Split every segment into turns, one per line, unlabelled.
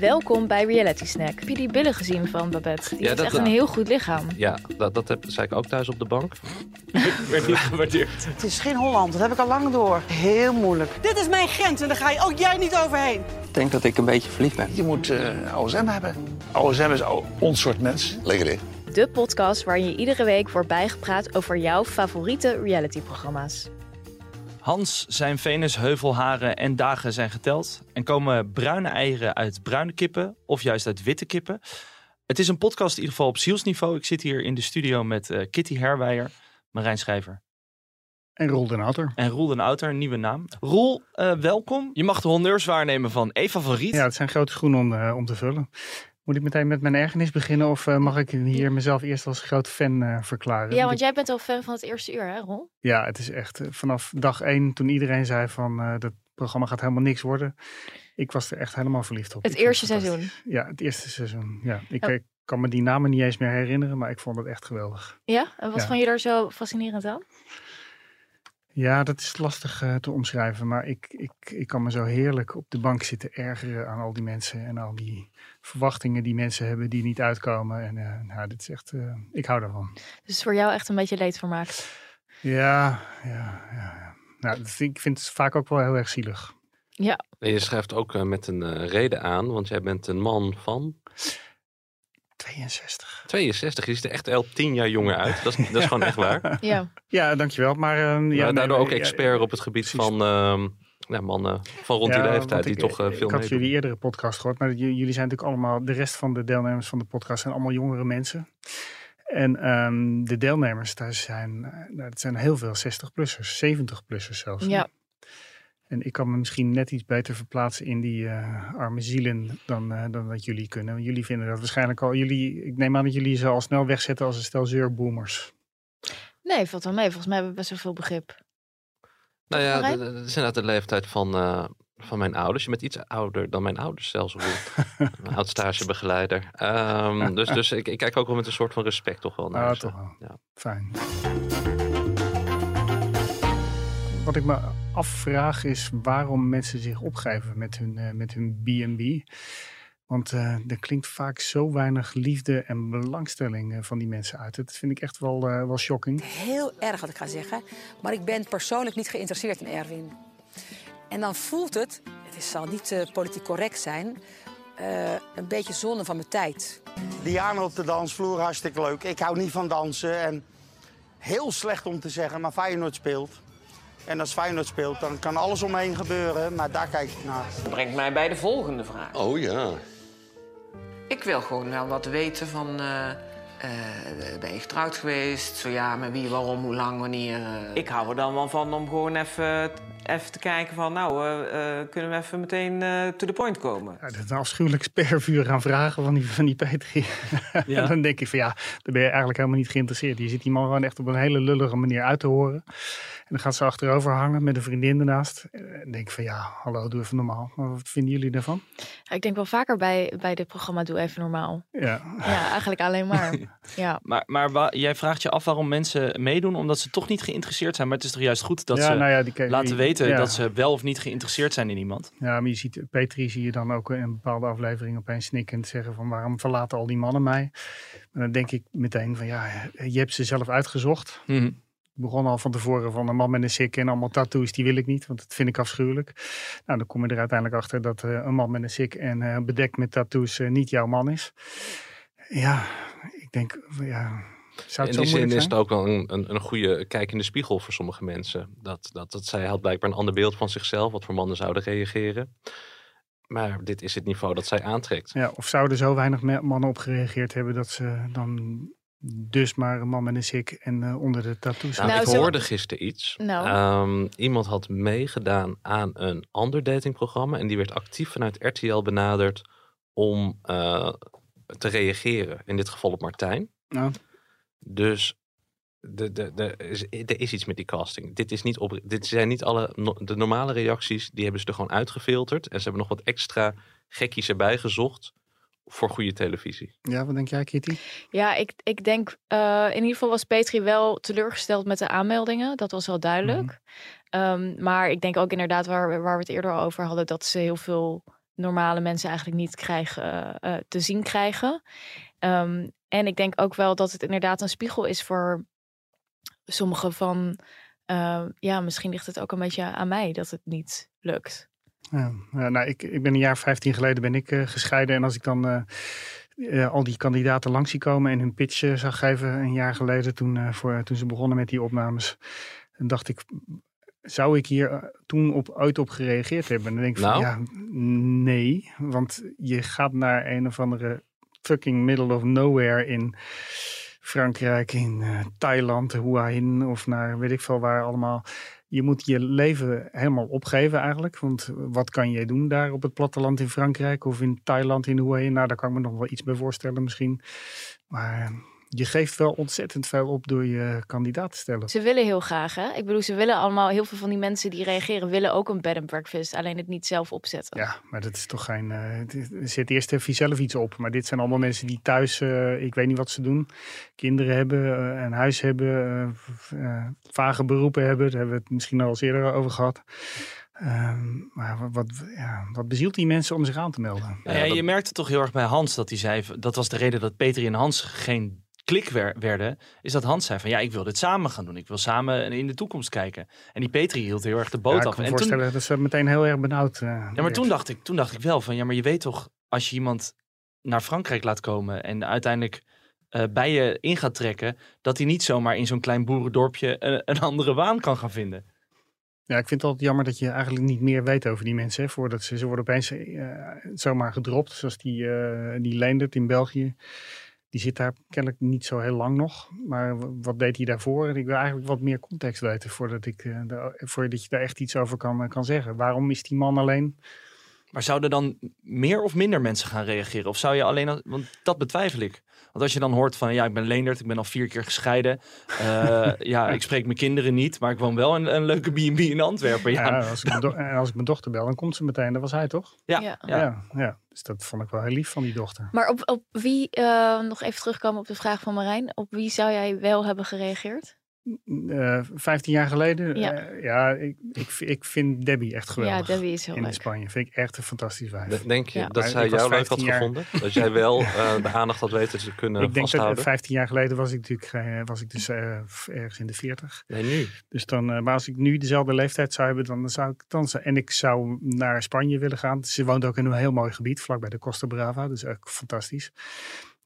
Welkom bij Reality Snack. Heb je die billen gezien van Babette? Die
Ja,
heeft
dat
echt
wel.
een heel goed lichaam.
Ja, dat, dat heb, zei ik ook thuis op de bank.
werd niet gewaardeerd.
Het is geen Holland, dat heb ik al lang door. Heel moeilijk. Dit is mijn grens en daar ga je ook jij niet overheen.
Ik denk dat ik een beetje verliefd ben.
Je moet eh OSM hebben. OSM is o- ons soort mensen.
Lekker in.
De podcast waarin je iedere week wordt bijgepraat over jouw favoriete realityprogramma's.
Hans, zijn venus, heuvelharen en dagen zijn geteld. En komen bruine eieren uit bruine kippen of juist uit witte kippen. Het is een podcast in ieder geval op zielsniveau. Ik zit hier in de studio met eh, Kitty Herwijer, Marijn Schrijver
En Roel den Otter.
en Roel den Outer, een nieuwe naam. Roel, eh, welkom. Je mag de honneurs waarnemen van Eva van Riet.
Ja, het zijn grote schoenen om, eh, om te vullen. Moet ik meteen met mijn ergernis beginnen of eh, mag ik hier mezelf eerst als groot fan eh, verklaren?
Ja, want jij bent al fan van het eerste uur, hè Ron?
Ja, het is echt eh, vanaf dag één toen iedereen zei van eh, dat programma gaat helemaal niks worden. Ik was er echt helemaal verliefd op.
Het
Ik vond
eerste
fantastisch.
seizoen.
Ja, het eerste seizoen. Ja, ik
Oh.
eh, kan me die namen niet eens meer herinneren, maar ik vond het echt geweldig.
Ja? En wat
Ja.
vond je daar zo fascinerend aan?
Ja, dat is lastig eh, te omschrijven, maar ik, ik, ik kan me zo heerlijk op de bank zitten ergeren aan al die mensen en al die verwachtingen die mensen hebben die niet uitkomen. En eh, nou, dit is echt, eh, ik hou daarvan.
Dus voor jou echt een beetje leedvermaak.
Ja, ja, ja. ja. Nou, dat vind, ik vind het vaak ook wel heel erg zielig.
Ja.
En je schrijft ook eh, met een eh, reden aan, want jij bent een man van
62.
62. Je ziet er echt al 10 jaar jonger uit. Dat is, dat is gewoon echt waar. Maar
Ja.
Ja, dankjewel. Maar, ehm, ja, nee,
daardoor
nee,
ook
ja,
expert op het gebied
precies.
van ehm, ja, mannen van rond die
Ja,
leeftijd
want
die
ik-
toch eh, veel
Ik had jullie
meedoen.
eerdere podcast gehoord, maar j- jullie zijn natuurlijk allemaal, de rest van de deelnemers van de podcast zijn allemaal jongere mensen. En ehm, de deelnemers daar zijn, eh, nou, het zijn heel veel 60-plussers, 70-plussers zelfs.
Ja.
En ik kan me misschien net iets beter verplaatsen in die eh, arme zielen dan, eh, dan dat jullie kunnen. Want jullie vinden dat waarschijnlijk al, jullie, ik neem aan dat jullie ze al snel wegzetten als een stel zeurboomers.
Nee, valt wel mee. Volgens mij hebben we best wel veel begrip.
Nou ja,
Marijn?
dat dat is inderdaad de leeftijd van, eh, van mijn ouders. Je bent iets ouder dan mijn ouders zelfs. Roel. mijn oud stagebegeleider. Ehm, dus dus ik, ik kijk ook wel met een soort van respect toch wel naar
Ah,
ze.
toch wel.
Ja.
Fijn. Wat ik me afvraag is waarom mensen zich opgeven met hun, eh, met hun B&B. Want eh, er klinkt vaak zo weinig liefde en belangstelling eh, van die mensen uit. Dat vind ik echt wel, eh, wel shocking.
heel erg wat ik ga zeggen. Maar ik ben persoonlijk niet geïnteresseerd in Erwin. En dan voelt het, het is- zal niet eh, politiek correct zijn, eh, een beetje zonde van mijn tijd.
Diana op de dansvloer, hartstikke leuk. Ik hou niet van dansen en heel slecht om te zeggen, maar Feyenoord speelt. En als Feyenoord speelt, dan kan alles omheen gebeuren, maar daar kijk ik naar.
Brengt mij bij de volgende vraag.
Oh ja.
Ik wil gewoon wel wat weten van... eh, eh, ben je getrouwd geweest? Zo ja, met wie, waarom, hoe lang, wanneer? eh? Ik hou er dan wel van om gewoon even, even te kijken van... nou, kunnen we even meteen eh, to the point komen?
Ja, dat is een afschuwelijk spervuur aan vragen van die, van die Petri.
Ja.
dan denk ik van ja, dan ben je eigenlijk helemaal niet geïnteresseerd. Je zit die man gewoon echt op een hele lullige manier uit te horen. En dan gaat ze achterover hangen met een vriendin ernaast. En dan denk ik van ja, hallo, doe even normaal. Maar wat vinden jullie daarvan?
Ja, Ik denk wel vaker bij, bij dit programma Doe Even Normaal.
Ja,
Ja, eigenlijk alleen maar. Ja.
Maar, maar wa- jij vraagt je af waarom mensen meedoen, omdat ze toch niet geïnteresseerd zijn. Maar het is toch juist goed dat
ja,
ze
nou ja, die, die-
laten weten
ja.
dat ze wel of niet geïnteresseerd zijn in iemand.
Ja, maar je ziet, Petri zie je dan ook in een bepaalde aflevering opeens snikkend zeggen van waarom verlaten al die mannen mij? Maar dan denk ik meteen van ja, je hebt ze zelf uitgezocht. Ik begon al van tevoren van een man met een sik en allemaal tattoos, die wil ik niet, want dat vind ik afschuwelijk. Nou, dan kom je er uiteindelijk achter dat eh, een man met een sik en eh, bedekt met tattoos eh, niet jouw man is. Ja, ik denk, ja, zou
In die zin
het zo moeilijk
is
zijn?
het ook wel een, een, een goede kijk in de spiegel voor sommige mensen. Dat, dat, dat zij had blijkbaar een ander beeld van zichzelf, wat voor mannen zouden reageren. Maar dit is het niveau dat zij aantrekt.
Ja, of zouden zo weinig me- mannen op gereageerd hebben dat ze dan Dus maar een man met een sik en eh, onder de tattoo.
Nou,
Nou,
ik
zo-
hoorde gisteren iets.
Nou.
Ehm, iemand had meegedaan aan een ander datingprogramma. En die werd actief vanuit RTL benaderd om eh, te reageren. In dit geval op Martijn.
Ja.
Dus de, de, de, is, er is iets met die casting. Dit, is niet op, dit zijn niet alle no- de normale reacties. Die hebben ze er gewoon uitgefilterd. En ze hebben nog wat extra gekkies erbij gezocht. Voor goede televisie.
Ja, wat denk jij, Kitty?
Ja, ik, ik denk eh, in ieder geval was Petri wel teleurgesteld met de aanmeldingen. Dat was wel duidelijk. Ehm, maar ik denk ook inderdaad waar, we- waar we het eerder al over hadden, dat ze heel veel normale mensen eigenlijk niet krijgen, eh, eh, te zien krijgen. Ehm, en ik denk ook wel dat het inderdaad een spiegel is voor sommigen van, eh, ja, misschien ligt het ook een beetje aan mij dat het niet lukt.
Ja, ja, nou, ik, ik ben een jaar 15 geleden ben ik eh, gescheiden. En als ik dan eh, eh, al die kandidaten langs zie komen en hun pitch eh, zag geven een jaar geleden toen, eh, voor, toen ze begonnen met die opnames, dan dacht ik, zou ik hier eh, toen op, ooit op gereageerd hebben? En dan denk ik van
Nou?
ja, nee. Want je gaat naar een of andere fucking middle of nowhere in Frankrijk, in eh, Thailand, Huahin of naar weet ik veel waar allemaal. Je moet je leven helemaal opgeven eigenlijk. Want wat kan jij doen daar op het platteland in Frankrijk of in Thailand, in Huahin? Nou, daar kan ik me nog wel iets bij voorstellen misschien. Maar eh, je geeft wel ontzettend veel op door je kandidaat te stellen.
Ze willen heel graag, hè? Ik bedoel, ze willen allemaal, heel veel van die mensen die reageren, willen ook een bed and breakfast, alleen het niet zelf opzetten.
Ja, maar dat is toch geen. eh, het is- er zit eerst even zelf iets op. Maar dit zijn allemaal mensen die thuis, eh, ik weet niet wat ze doen. Kinderen hebben, eh, een huis hebben, eh, v- eh, vage beroepen hebben. Daar hebben we het misschien al eens eerder over gehad. Ehm, maar wat, wat, ja, wat bezielt die mensen om zich aan te melden?
Nou ja,
Ja, dat-
Je merkte toch heel erg bij Hans dat hij zei... dat was de reden dat Petri en Hans geen klik wer- werden... is dat Hans zei van ja, ik wil dit samen gaan doen. Ik wil samen in de toekomst kijken. En die Petri hield heel erg de boot
Ja, ik
af.
kan me
En toen,
voorstellen dat ze meteen heel erg benauwd. eh,
ja, maar
werd.
toen dacht, ik, toen dacht ik wel van ja, maar je weet toch... als je iemand naar Frankrijk laat komen en uiteindelijk... eh, bij je in gaat trekken, dat hij niet zomaar in zo'n klein boerendorpje een, een andere waan kan gaan vinden.
Ja, ik vind het altijd jammer dat je eigenlijk niet meer weet over die mensen. Hè, voordat ze, ze worden opeens eh, zomaar gedropt. Zoals die, eh die Leendert in België. Die zit daar kennelijk niet zo heel lang nog. Maar w- wat deed hij daarvoor? En ik wil eigenlijk wat meer context weten voordat, ik, eh, daar- voordat je daar echt iets over kan, eh, kan zeggen. Waarom is die man alleen?
Maar zouden dan meer of minder mensen gaan reageren? Of zou je alleen... al- Want dat betwijfel ik. Want als je dan hoort van... Ja, ik ben Leendert. Ik ben al vier keer gescheiden. eh, ja, ik spreek mijn kinderen niet. Maar ik woon wel een, een leuke B&B in Antwerpen. Ja,
Ja, Eh, als, ik mijn do- en als ik mijn dochter bel, dan komt ze meteen. Dat was hij toch?
ja,
Ja.
ja.
ja, ja. Dus dat vond ik wel heel lief van die dochter.
Maar op, op wie, eh, nog even terugkomen op de vraag van Marijn, op wie zou jij wel hebben gereageerd?
Eh 15 jaar geleden?
Ja.
eh, ja ik, ik, ik vind Debbie echt geweldig.
Ja, Debbie is heel
in
leuk.
Spanje. Vind ik echt een fantastisch wijf.
De- Denk je
Ja.
dat
Maar
zij
ik was
jou leuk had
15 jaar.
gevonden? Dat jij wel eh, de aandacht had weten te kunnen
ik denk dat
Nou, vasthouden?
eh, 15 jaar geleden was ik natuurlijk eh, was ik dus eh, f- ergens in de 40.
Nee, nu.
Dus dan, eh, maar als ik nu dezelfde leeftijd zou hebben, dan zou ik dansen. En ik zou naar Spanje willen gaan. Ze woont ook in een heel mooi gebied, vlakbij de Costa Brava. Dus ook fantastisch.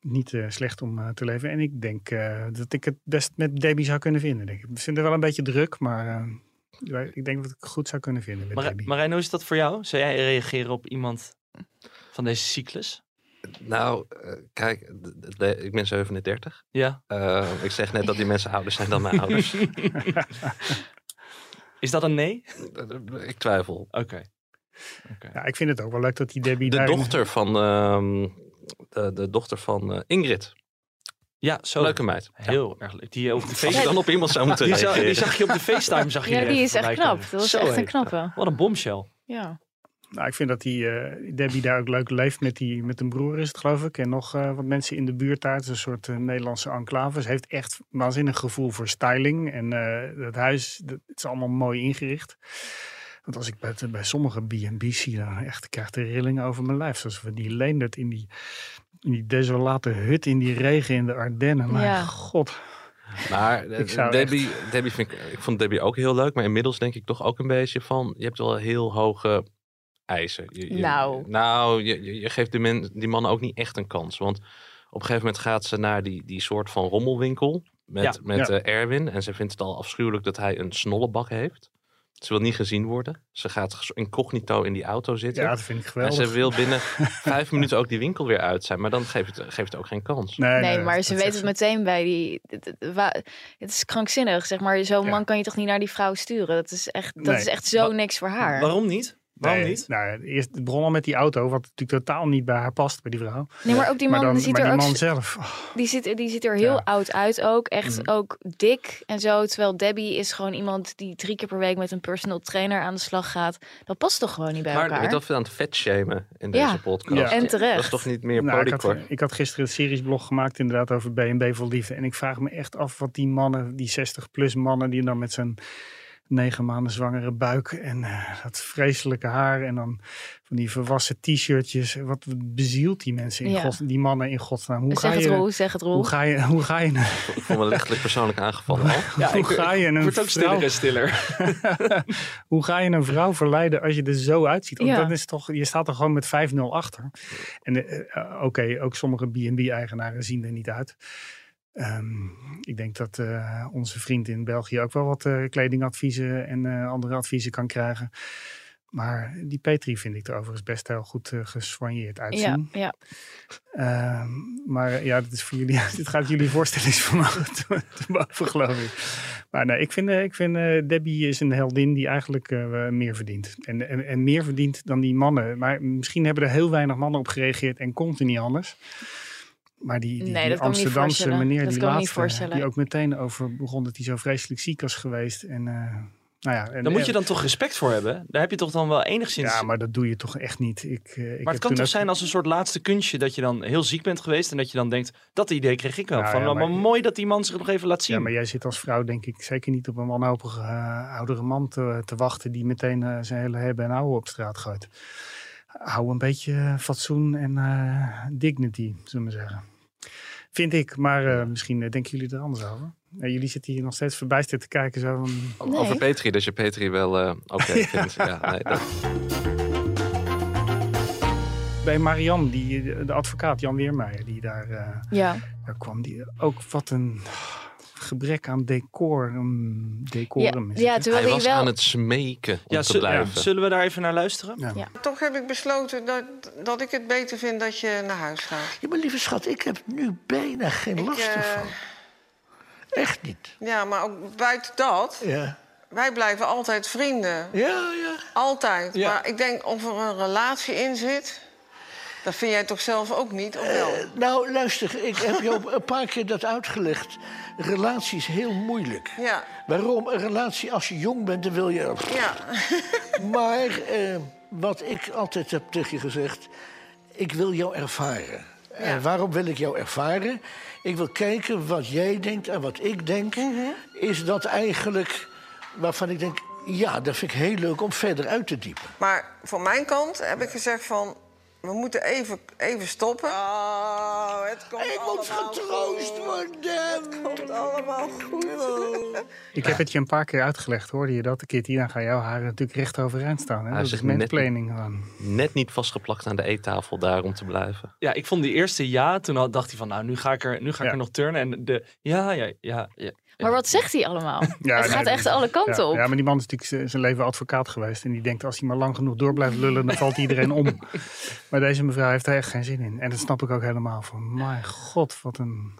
Niet eh, slecht om eh, te leven. En ik denk eh, dat ik het best met Debbie zou kunnen vinden. Denk ik. ik vind het wel een beetje druk, maar eh, ik denk dat ik het goed zou kunnen vinden met
Mar-
Debbie.
Marijn, hoe is dat voor jou? Zou jij reageren op iemand van deze cyclus?
Nou, eh, kijk, d- d- de- ik ben 37.
Ja.
Eh, ik zeg net dat die mensen ouder zijn dan mijn ouders.
Is dat een nee?
ik twijfel.
Oké.
ja, ik vind het ook wel leuk dat die Debbie
De
daarin-
dochter van, ehm, de, de dochter van eh, Ingrid.
Ja, zo.
Leuke meid.
Heel erg leuk. Die eh, op de
Als je
FaceTime...
dan op iemand zou moeten
Die, zag- die
reageren.
zag je op de FaceTime. Zag je
Ja,
er
die
even
is echt
voorbij
knap.
komen.
Dat is
Zo,
echt
hé.
een knappe.
Wat een bombshell.
Ja.
Nou, ik vind dat die eh, Debbie daar ook leuk leeft met, die, met een broer is het geloof ik. En nog eh, wat mensen in de buurt daar. Het is een soort eh, Nederlandse enclave. Ze heeft echt waanzinnig gevoel voor styling. En eh het huis, dat, het is allemaal mooi ingericht. Want als ik bij, het- bij sommige B&B's zie, dan echt ik krijg de rillingen over mijn lijf. Zoals we die Leendert in die, in die desolate hut in die regen in de Ardennen. Mijn
Ja.
god.
Maar
Ik
eh,
zou
Debbie, Debbie vind ik, ik vond Debbie ook heel leuk. Maar inmiddels denk ik toch ook een beetje van... Je hebt wel heel hoge eisen. Je- je-
Nou.
Nou, je, je- je geeft die, men, die mannen ook niet echt een kans. Want op een gegeven moment gaat ze naar die, die soort van rommelwinkel... met,
Ja.
met
Ja.
eh, Erwin. En ze vindt het al afschuwelijk dat hij een snollebak heeft. Ze wil niet gezien worden. Ze gaat ges- incognito in die auto zitten.
Ja, dat vind ik
en
geweldig.
ze wil binnen vijf minuten ook die winkel weer uit zijn. Maar dan geeft het, geeft het ook geen kans.
Nee, maar
dat-
ze
dat
weet het
zegt
meteen bij die. d- d- wa- Het is krankzinnig, zeg maar. Zo'n
Ja.
man kan je toch niet naar die vrouw sturen? Dat is echt, dat
Nee.
is echt zo
Wa-
niks voor haar.
Waarom niet? Waarom
Nee,
niet?
Nou, eerst het begon al met die auto, wat natuurlijk totaal niet bij haar past, bij die vrouw.
Nee, maar ook die
maar
man
dan,
ziet
maar
er
die
ook.
man
s-
zelf. oh,
Die ziet, die ziet er heel
Ja.
oud uit ook. Echt
Mhm.
ook dik en zo. Terwijl Debbie is gewoon iemand die drie keer per week met een personal trainer aan de slag gaat. Dat past toch gewoon niet bij
Maar
elkaar?
dat we aan het vet shamen in
Ja.
deze podcast.
Ja.
En terecht.
Dat is toch niet meer
nou, ik, had,
bodycore?
ik had gisteren een seriesblog gemaakt inderdaad over B&B voor liefde. En ik vraag me echt af wat die mannen, die 60-plus mannen, die dan met zijn negen maanden zwangere buik en eh, dat vreselijke haar en dan van die verwassen t-shirtjes. Wat bezielt die mensen in
Ja.
gods, die mannen in godsnaam? Hoe ga,
zeg het
je,
Roel, zeg het Roel.
hoe, ga je, hoe ga je, hoe
Ik voel me lichtelijk persoonlijk aangevallen. al.
Ja, ik-
ga je een
wordt ook
vrouw
stiller en stiller.
Hoe ga je een vrouw verleiden als je er zo uitziet? Want
Ja.
dat is toch, je staat er gewoon met 5-0 achter. En eh, eh, oké, ook sommige B&B-eigenaren zien er niet uit. Ehm, ik denk dat eh, onze vriend in België ook wel wat eh, kledingadviezen en eh, andere adviezen kan krijgen. Maar die Petri vind ik er overigens best heel goed eh gesoigneerd
Ja,
uitzien.
ja.
Ehm, maar eh, ja, dit, is voor jullie, dit gaat jullie voorstellingsvermogen te, te boven, geloof ik. Maar nee, ik vind, eh, ik vind eh, Debbie is een heldin die eigenlijk eh, meer verdient. En, en, en meer verdient dan die mannen. Maar misschien hebben er heel weinig mannen op gereageerd en komt er niet anders. Maar die, die,
Nee,
die
dat kan ik me niet
Amsterdamse
voorstellen.
meneer,
Dat
die
kan ik me niet
laatste,
voorstellen.
die ook meteen over begon dat hij zo vreselijk ziek was geweest. En, eh, nou ja, en,
Daar moet je
en-
dan toch respect voor hebben? Daar heb je toch dan wel enigszins...
Ja,
maar
maar dat doe je toch echt niet. Ik, eh, ik heb
het kan
toen
toch
ook-
zijn als een soort laatste kunstje dat je dan heel ziek bent geweest en dat je dan denkt, dat idee kreeg ik wel.
Nou
van,
ja,
nou, maar,
maar-
mooi dat die man zich nog even laat zien.
Ja, maar jij zit als vrouw denk ik zeker niet op een wanhopige eh, oudere man te, te wachten die meteen eh, zijn hele hebben en ouwe op straat gooit. Hou een beetje eh, fatsoen en eh, dignity, zullen we maar zeggen. Vind ik, maar eh, misschien eh, denken jullie er anders over. Eh, jullie zitten hier nog steeds verbijsterd te kijken. Zo van,
Nee.
Over Petri, dat je Petri wel eh, oké vindt. Ja, nee, dat-
bij Marianne, die, eh, de advocaat Jan Weermeijer, die daar, eh,
ja.
daar kwam. Die, eh, ook wat een gebrek aan decorum.
Ja,
decorum is het,
ja,
hè?
terwijl
Hij
hij,
was
wel...
aan het smeken om
Ja,
te
zul- ja,
blijven.
zullen we daar even naar luisteren?
Toch heb ik besloten dat, dat ik het beter vind dat je naar huis gaat.
Ja, maar lieve schat, ik heb nu bijna geen
Ik,
last
eh,
ervan. Echt niet.
Ja, maar ook buiten dat,
Ja,
wij blijven altijd vrienden.
ja. ja.
Altijd.
Ja.
Maar ik denk, of er een relatie in zit, dat vind jij toch zelf ook niet, of wel?
Eh, nou, luister, ik heb jou een paar keer dat uitgelegd. Relatie is heel moeilijk.
Ja.
Waarom? Een relatie, als je jong bent, dan wil je...
Ja.
Maar eh, wat ik altijd heb tegen je gezegd, ik wil jou ervaren. En waarom wil ik jou ervaren? Ik wil kijken wat jij denkt en wat ik denk.
Mhm.
Is dat eigenlijk waarvan ik denk, ja, dat vind ik heel leuk om verder uit te diepen.
Maar van mijn kant heb ik gezegd van... We moeten even, even stoppen. Oh, het komt
Ik moet getroost worden.
komt allemaal goed.
Ik heb het je een paar keer uitgelegd, hoorde je dat? Kitty, dan gaan jouw haren natuurlijk recht overeind staan. Hè?
Hij
dat is
zegt net-
mentplanning gewoon.
Net niet vastgeplakt aan de eettafel daar om te blijven.
Ja, ik vond die eerste ja, toen had- dacht hij van, nou, nu ga ik er, nu ga ik
Ja.
er nog turnen. En de ja, ja, ja, ja.
Maar wat zegt hij allemaal?
Ja,
het
nee,
gaat
dat-
echt alle kanten
ja,
op.
Ja, maar die man is natuurlijk z- zijn leven advocaat geweest. En die denkt, als hij maar lang genoeg door blijft lullen, dan valt iedereen om. Maar deze mevrouw heeft er echt geen zin in. En dat snap ik ook helemaal van, mijn god, wat een...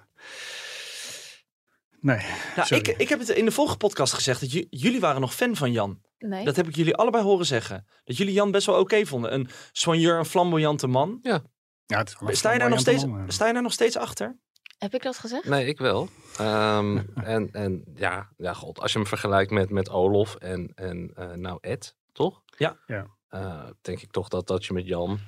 Nee,
Nou, ik,
sorry.
ik heb het in de vorige podcast gezegd dat j- jullie waren nog fan van Jan.
Nee.
Dat heb ik jullie allebei horen zeggen. Dat jullie Jan best wel oké vonden. Een soigneur, een flamboyante man.
Ja, het is wel een
Sta je, daar
flamboyante
nog steeds,
man, hè.
sta je daar nog steeds achter?
Heb ik dat gezegd?
Nee, ik wel. Ehm, en en ja, ja, god, als je hem vergelijkt met, met Olof en, en eh, nou Ed, toch?
Ja.
Ja.
Eh, denk ik toch dat, dat je met Jan...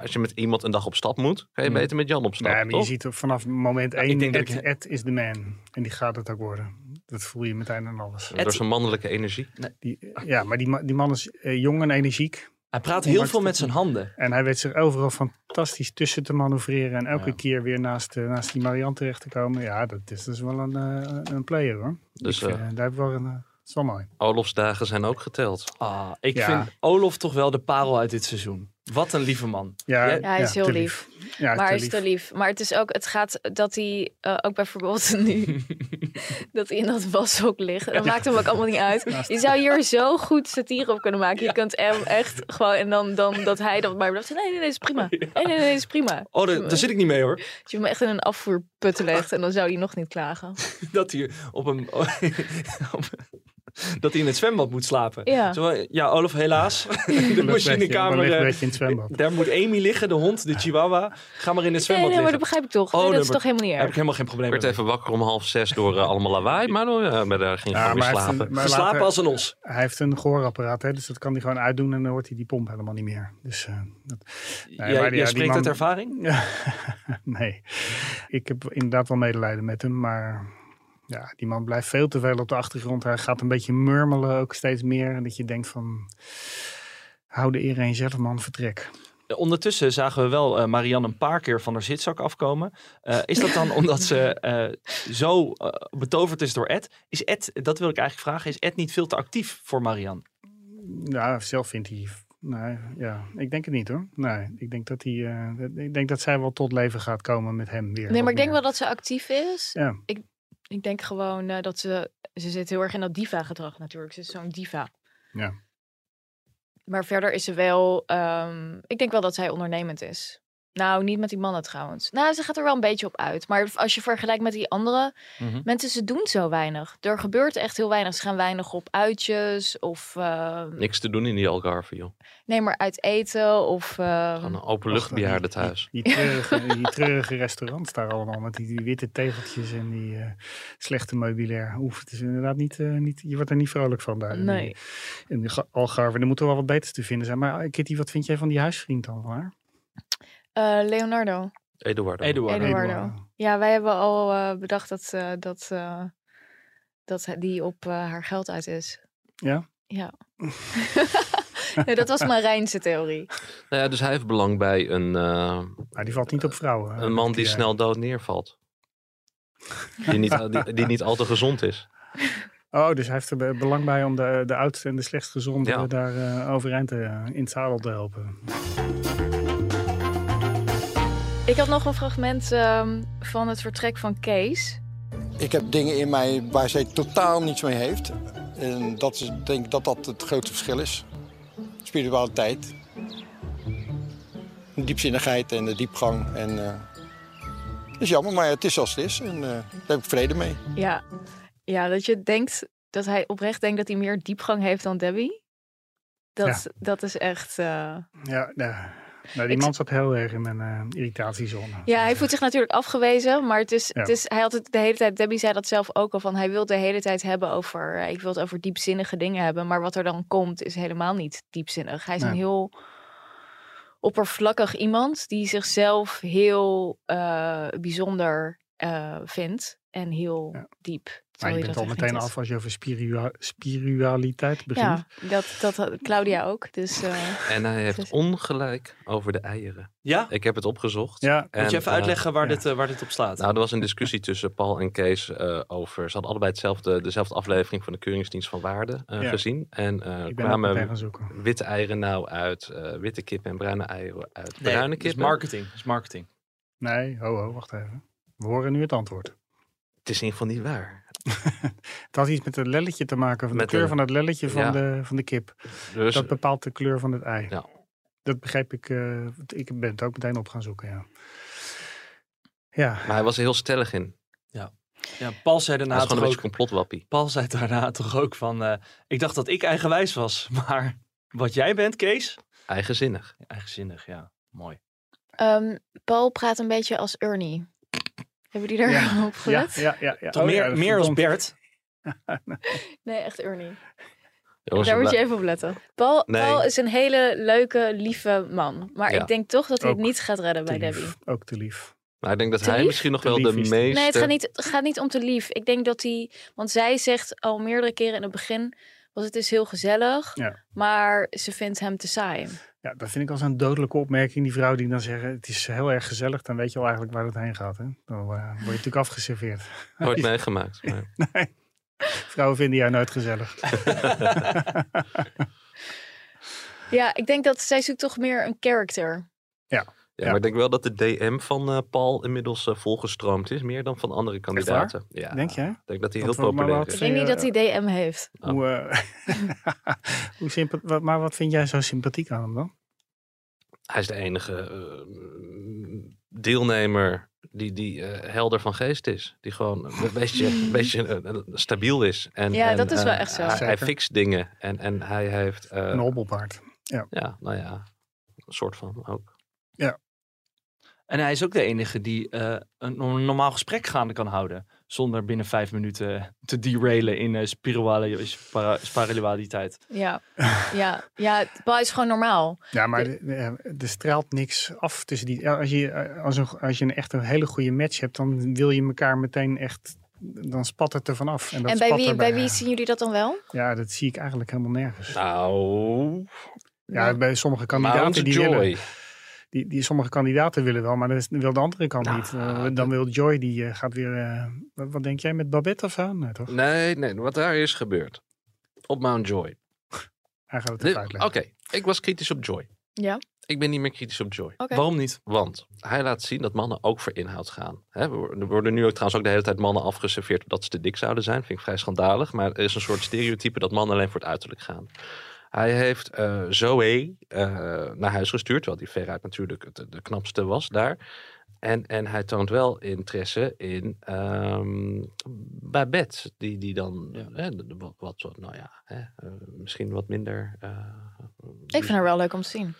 Als je met iemand een dag op stap moet, ga je
Hmm.
beter met Jan op stap,
Nee, maar je
toch?
ziet er vanaf moment
ik
één,
denk dat
Ed,
ik-
Ed is de man. En die gaat het ook worden. Dat voel je meteen aan alles.
Door zijn mannelijke energie.
Die, ja, maar die, ma- die man is eh, jong en energiek.
Hij praat
Ja,
heel
maar
veel
het-
met zijn handen.
En hij weet zich overal fantastisch tussen te manoeuvreren. En elke
Ja.
keer weer naast, eh, naast die Marianne terecht te komen. Ja, dat is dus wel een, eh, een player hoor.
Dus
Ik,
eh,
eh, daar heb ik wel een. eh, dat is wel mooi.
Olofs dagen zijn ook geteld.
Ah, ik
Ja.
vind Olof toch wel de parel uit dit seizoen. Wat een lieve man.
Ja,
Jij-
Ja, hij is heel
te
lief.
Ja,
maar
te
hij is te lief. Maar het is ook, het gaat dat hij eh, ook bijvoorbeeld nu, dat hij in dat washok ligt. Dat maakt hem ook allemaal niet uit. Je zou hier zo goed satire op kunnen maken. Je kunt hem echt gewoon, en dan, dan dat hij dan maar blijft zeggen, nee, nee, nee, is prima. Nee, nee, nee, is prima.
Oh, daar, daar zit ik niet mee hoor.
Als je hem echt in een afvoerput legt en dan zou hij nog niet klagen.
Dat hij op een. op- dat hij in het zwembad moet slapen.
Ja.
Zo, eh, ja, Olaf, helaas. de
lief.
machinekamer.
Een
eh,
beetje in het zwembad.
Daar moet Amy liggen, de hond, de chihuahua. Ga maar in het
Nee,
zwembad
nee, maar dat
liggen.
begrijp ik toch.
Oh,
Nee, dat is
nee,
toch helemaal niet
Daar heb
erg.
ik helemaal geen probleem
Ik werd
mee.
even wakker om half zes door eh, allemaal lawaai, maar eh, maar daar ging ik
Ja,
gewoon weer
maar hij heeft
slapen.
een- maar
Geslapen
later-
als een os.
Hij heeft een gehoorapparaat, hè, dus dat kan hij gewoon uitdoen en dan hoort hij die pomp helemaal niet meer. Dus, eh, dat...
Jij,
maar die-
jij
ja, die
spreekt
man-
uit ervaring?
ja, nee. Ik heb inderdaad wel medelijden met hem, maar ja, die man blijft veel te veel op de achtergrond. Hij gaat een beetje murmelen ook steeds meer. En dat je denkt van, hou de eer eens zelf man, vertrek.
Eh, Ondertussen zagen we wel eh, Marianne een paar keer van haar zitzak afkomen. Eh, is dat dan omdat ze eh, zo eh, betoverd is door Ed? Is Ed, dat wil ik eigenlijk vragen, is Ed niet veel te actief voor Marianne?
Ja, zelf vindt hij. Nee, ja, ik denk het niet hoor. Nee, ik denk dat hij. eh, ik denk dat zij wel tot leven gaat komen met hem weer.
Nee, maar
wat
ik denk
meer.
wel dat ze actief is.
Ja.
Ik denk gewoon eh, dat ze... Ze zit heel erg in dat diva-gedrag natuurlijk. Ze is zo'n diva.
Ja.
Maar verder is ze wel... ehm, ik denk wel dat zij ondernemend is. Nou, niet met die mannen trouwens. Nou, ze gaat er wel een beetje op uit. Maar als je vergelijkt met die andere
Mhm.
mensen, ze doen zo weinig. Er gebeurt echt heel weinig. Ze gaan weinig op uitjes of... ehm,
Niks te doen in die Algarve, joh.
nee, maar uit eten of... ehm,
Gewoon een
eh,
openluchtbejaarde thuis.
Die treurige, die treurige restaurants daar allemaal met die, die witte tegeltjes en die eh, slechte meubilair. Oef, het is inderdaad niet, eh, niet. Je wordt er niet vrolijk van daar. in die-
nee.
In de Ga- Algarve. Er moet er wel wat beters te vinden zijn. Maar eh, Kitty, wat vind jij van die huisvriend dan? Waar?
Eh, Leonardo.
Eduardo.
Eduardo.
Eduardo. Ja, wij hebben al eh, bedacht dat, eh, dat, eh, dat hij- die op eh, haar geld uit is.
Ja?
Ja. nee, dat was Marijnse theorie.
Nou ja, dus hij heeft belang bij een, eh,
Maar Nou, die valt niet op vrouwen.
een man die
Ja.
snel dood neervalt. Die niet, die, die niet al te gezond is.
Oh, dus hij heeft er be- belang bij om de, de oudste en de slechtst gezonde
Ja.
daar eh, overeind te, in het zadel te helpen.
Ik had nog een fragment ehm, van het vertrek van Kees.
Ik heb dingen in mij waar zij totaal niets mee heeft. En dat is, ik denk dat dat het grote verschil is. Spiritualiteit. De diepzinnigheid en de diepgang. En, eh, dat is jammer, maar het is zoals het is. En eh, daar heb ik vrede mee.
Ja. ja, dat je denkt dat hij oprecht denkt dat hij meer diepgang heeft dan Debbie. Dat, dat is echt. eh,
Ja, ja. Nou, die
Ik-
man zat heel erg in mijn eh, irritatiezone.
Ja, hij voelt zich natuurlijk afgewezen, maar het is,
Ja.
het is, hij had het de hele tijd, Debbie zei dat zelf ook al, van hij wil het de hele tijd hebben over, eh, ik wil het over diepzinnige dingen hebben, maar wat er dan komt is helemaal niet diepzinnig. Hij is een
Nee.
heel oppervlakkig iemand die zichzelf heel eh, bijzonder eh, vindt en heel
Ja.
diep.
Maar
terwijl
je
hij
bent
dat
al
echt
meteen
niet is.
af als je over spirua- spiritualiteit begint.
Ja, dat, dat had Claudia ook. Dus eh,
En hij heeft
Dus-
ongelijk over de eieren.
Ja?
Ik heb het opgezocht.
Ja,
En,
Moet je even
eh,
uitleggen waar,
ja.
dit, eh, waar dit op slaat?
Nou, er was een discussie tussen Paul en Kees eh, over. Ze hadden allebei hetzelfde, dezelfde aflevering van de Keuringsdienst van Waarde eh,
Ja.
gezien. En eh,
ik ben ook meteen
kwamen
gaan zoeken.
witte eieren nou uit eh, witte kippen en bruine eieren uit
Nee,
bruine
dat is
kippen.
marketing. dat is marketing.
Nee, ho, ho, wacht even. We horen nu het antwoord.
Het is in ieder geval niet waar.
Het had iets met het lelletje te maken, van
Met
de kleur
de-
van het lelletje van,
Ja.
de, van de kip.
Dus
Dat bepaalt de kleur van het ei.
Ja.
Dat begrijp ik. eh, want ik ben het ook meteen op gaan zoeken, ja. Ja,
Maar hij was er heel stellig in.
Ja, Paul zei
Hij is
daarna
gewoon een
toch
beetje
ook,
complotwappie.
Paul zei daarna toch ook van, eh, ik dacht dat ik eigenwijs was, maar wat jij bent, Kees?
Eigenzinnig.
Eigenzinnig, ja. Mooi.
ehm, Paul praat een beetje als Ernie. Hebben die daar
Ja.
op
ja,
gelet?
ja, ja, ja.
Toch
Oh, ja,
meer,
dat
meer als
verdomd.
Bert.
Nee, echt Ernie.
Jongens,
Daar moet je
blij-
even op letten. Paul,
Nee.
Paul is een hele leuke, lieve man. Maar
Ja.
ik denk toch dat hij het
Ook
niet gaat redden bij
Te lief.
Debbie.
Ook te lief.
Maar ik denk dat
Te
hij
lief?
misschien nog
Te
wel de
lief is hij.
meeste...
Nee, het gaat, niet, het gaat niet om te lief. Ik denk dat hij... Want zij zegt al meerdere keren in het begin... was het is heel gezellig,
Ja.
maar ze vindt hem te saai.
Ja, dat vind ik al zo'n dodelijke opmerking. Die vrouw die dan zeggen, het is heel erg gezellig. Dan weet je al eigenlijk waar het heen gaat. Hè? Dan eh, word je natuurlijk afgeserveerd.
Nooit meegemaakt. Maar...
Vrouwen vinden jou nooit gezellig.
Ja, ik denk dat zij zoekt toch meer een character.
Ja,
Ja.
Maar ik denk wel dat de DM van eh, Paul inmiddels eh, volgestroomd is. Meer dan van andere kandidaten. Ja,
Denk je?
Ik denk dat hij heel
Dat wordt maar
populair
wat-
is.
Ik denk niet dat hij DM heeft.
Oh.
Hoe, eh, hoe sympa- wat- maar wat vind jij zo sympathiek aan hem dan?
Hij is de enige eh, deelnemer die, die eh, helder van geest is. Die gewoon een beetje, een beetje eh, stabiel is. En,
Ja,
en,
dat is wel
eh,
echt zo.
Hij, hij
Zeker.
fixt dingen en, en hij heeft... eh,
Een hobbelpaard.
ja, nou ja, een soort van ook.
En hij is ook de enige die eh, een no- normaal gesprek gaande kan houden. Zonder binnen vijf minuten te derailen in eh spirale- spara- spiritualiteit.
Ja, ja, ja. Paul is gewoon normaal.
Ja, maar de- de- eh, er straalt niks af tussen die. ja, Als je, eh, als een, als je een echt een hele goede match hebt, dan wil je elkaar meteen echt. Dan spat het er vanaf. En, dat
en bij
spat
wie,
er
bij wie zien jullie dat dan wel?
Ja, dat zie ik eigenlijk helemaal nergens.
Nou,
Ja, bij sommige kandidaten
Mount
die willen,
Joy.
die, die, sommige kandidaten willen wel, maar dat is- wil de andere kant niet. Eh, dan wil Joy, die eh, gaat weer... eh, wat, wat denk jij, met Babette of zo? Nee, toch?
Nee, nee, wat daar is gebeurd. Op Mount Joy.
Hij gaat het
Dit-
even
Oké,
uitleggen.
ik was kritisch op Joy.
Ja,
Ik ben niet meer kritisch op Joy.
oké.
Waarom niet?
Want hij laat zien dat mannen ook voor inhoud gaan. Hè, we worden- er worden nu ook trouwens ook de hele tijd mannen afgeserveerd omdat ze te dik zouden zijn. Vind ik vrij schandalig. Maar er is een soort stereotype dat mannen alleen voor het uiterlijk gaan. Hij heeft eh Zoe eh, naar huis gestuurd, terwijl die veruit natuurlijk de, de knapste was daar. En, en hij toont wel interesse in ehm, Babette, die, die dan hè, de- de- wat, wat, nou ja, hè, eh, misschien wat minder. eh,
Ik vind haar wel leuk om te zien.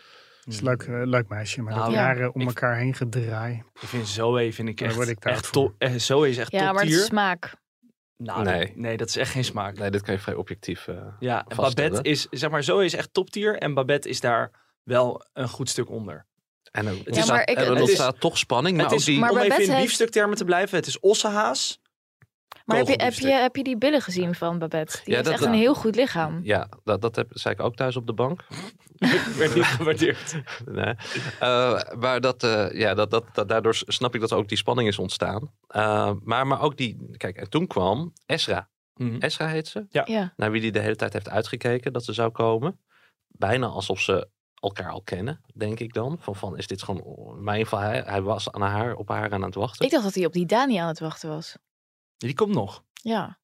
Het is een leuk, eh, leuk meisje, maar
Nou,
dat
ja.
jaren om
Ik-
elkaar heen gedraai.
Ik vind Zoe vind ik
Daar
echt,
word ik te
echt
oud voor.
top. eh, Zoe is echt
Ja,
top
maar het is
tier.
smaak.
Nou,
Nee.
nee. nee, dat is echt geen smaak.
Nee, dit kan je vrij objectief. eh,
Ja, en
Vaststellen.
Babette is, zeg maar, Zoe is echt top tier. En Babette is daar wel een goed stuk onder.
En er
is-
ontstaat,
maar ik-
er
het is-
ontstaat toch spanning. Maar
het is,
ook die,
Maar
om even
Babette
in
heeft-
biefstuktermen te blijven, het is ossehaas.
Maar heb je, heb, je,
Kogelbiefstuk.
heb je die billen gezien van Babette? Die
Ja,
heeft
dat-
echt een heel goed lichaam.
Ja, dat, dat heb, zei ik ook thuis op de bank.
Werd niet gewaardeerd.
nee. Eh, maar dat, eh, ja, dat, dat, dat, daardoor snap ik dat ook die spanning is ontstaan. Eh, maar, maar ook die... Kijk, en toen kwam Esra.
Mhm.
Esra heet ze.
Ja.
Naar wie die de hele tijd heeft uitgekeken dat ze zou komen. Bijna alsof ze elkaar al kennen, denk ik dan. Van, van is dit gewoon mijn van hij? Hij was aan haar, op haar aan het wachten.
Ik dacht dat hij op die Dani aan het wachten was.
Die komt nog.
Ja,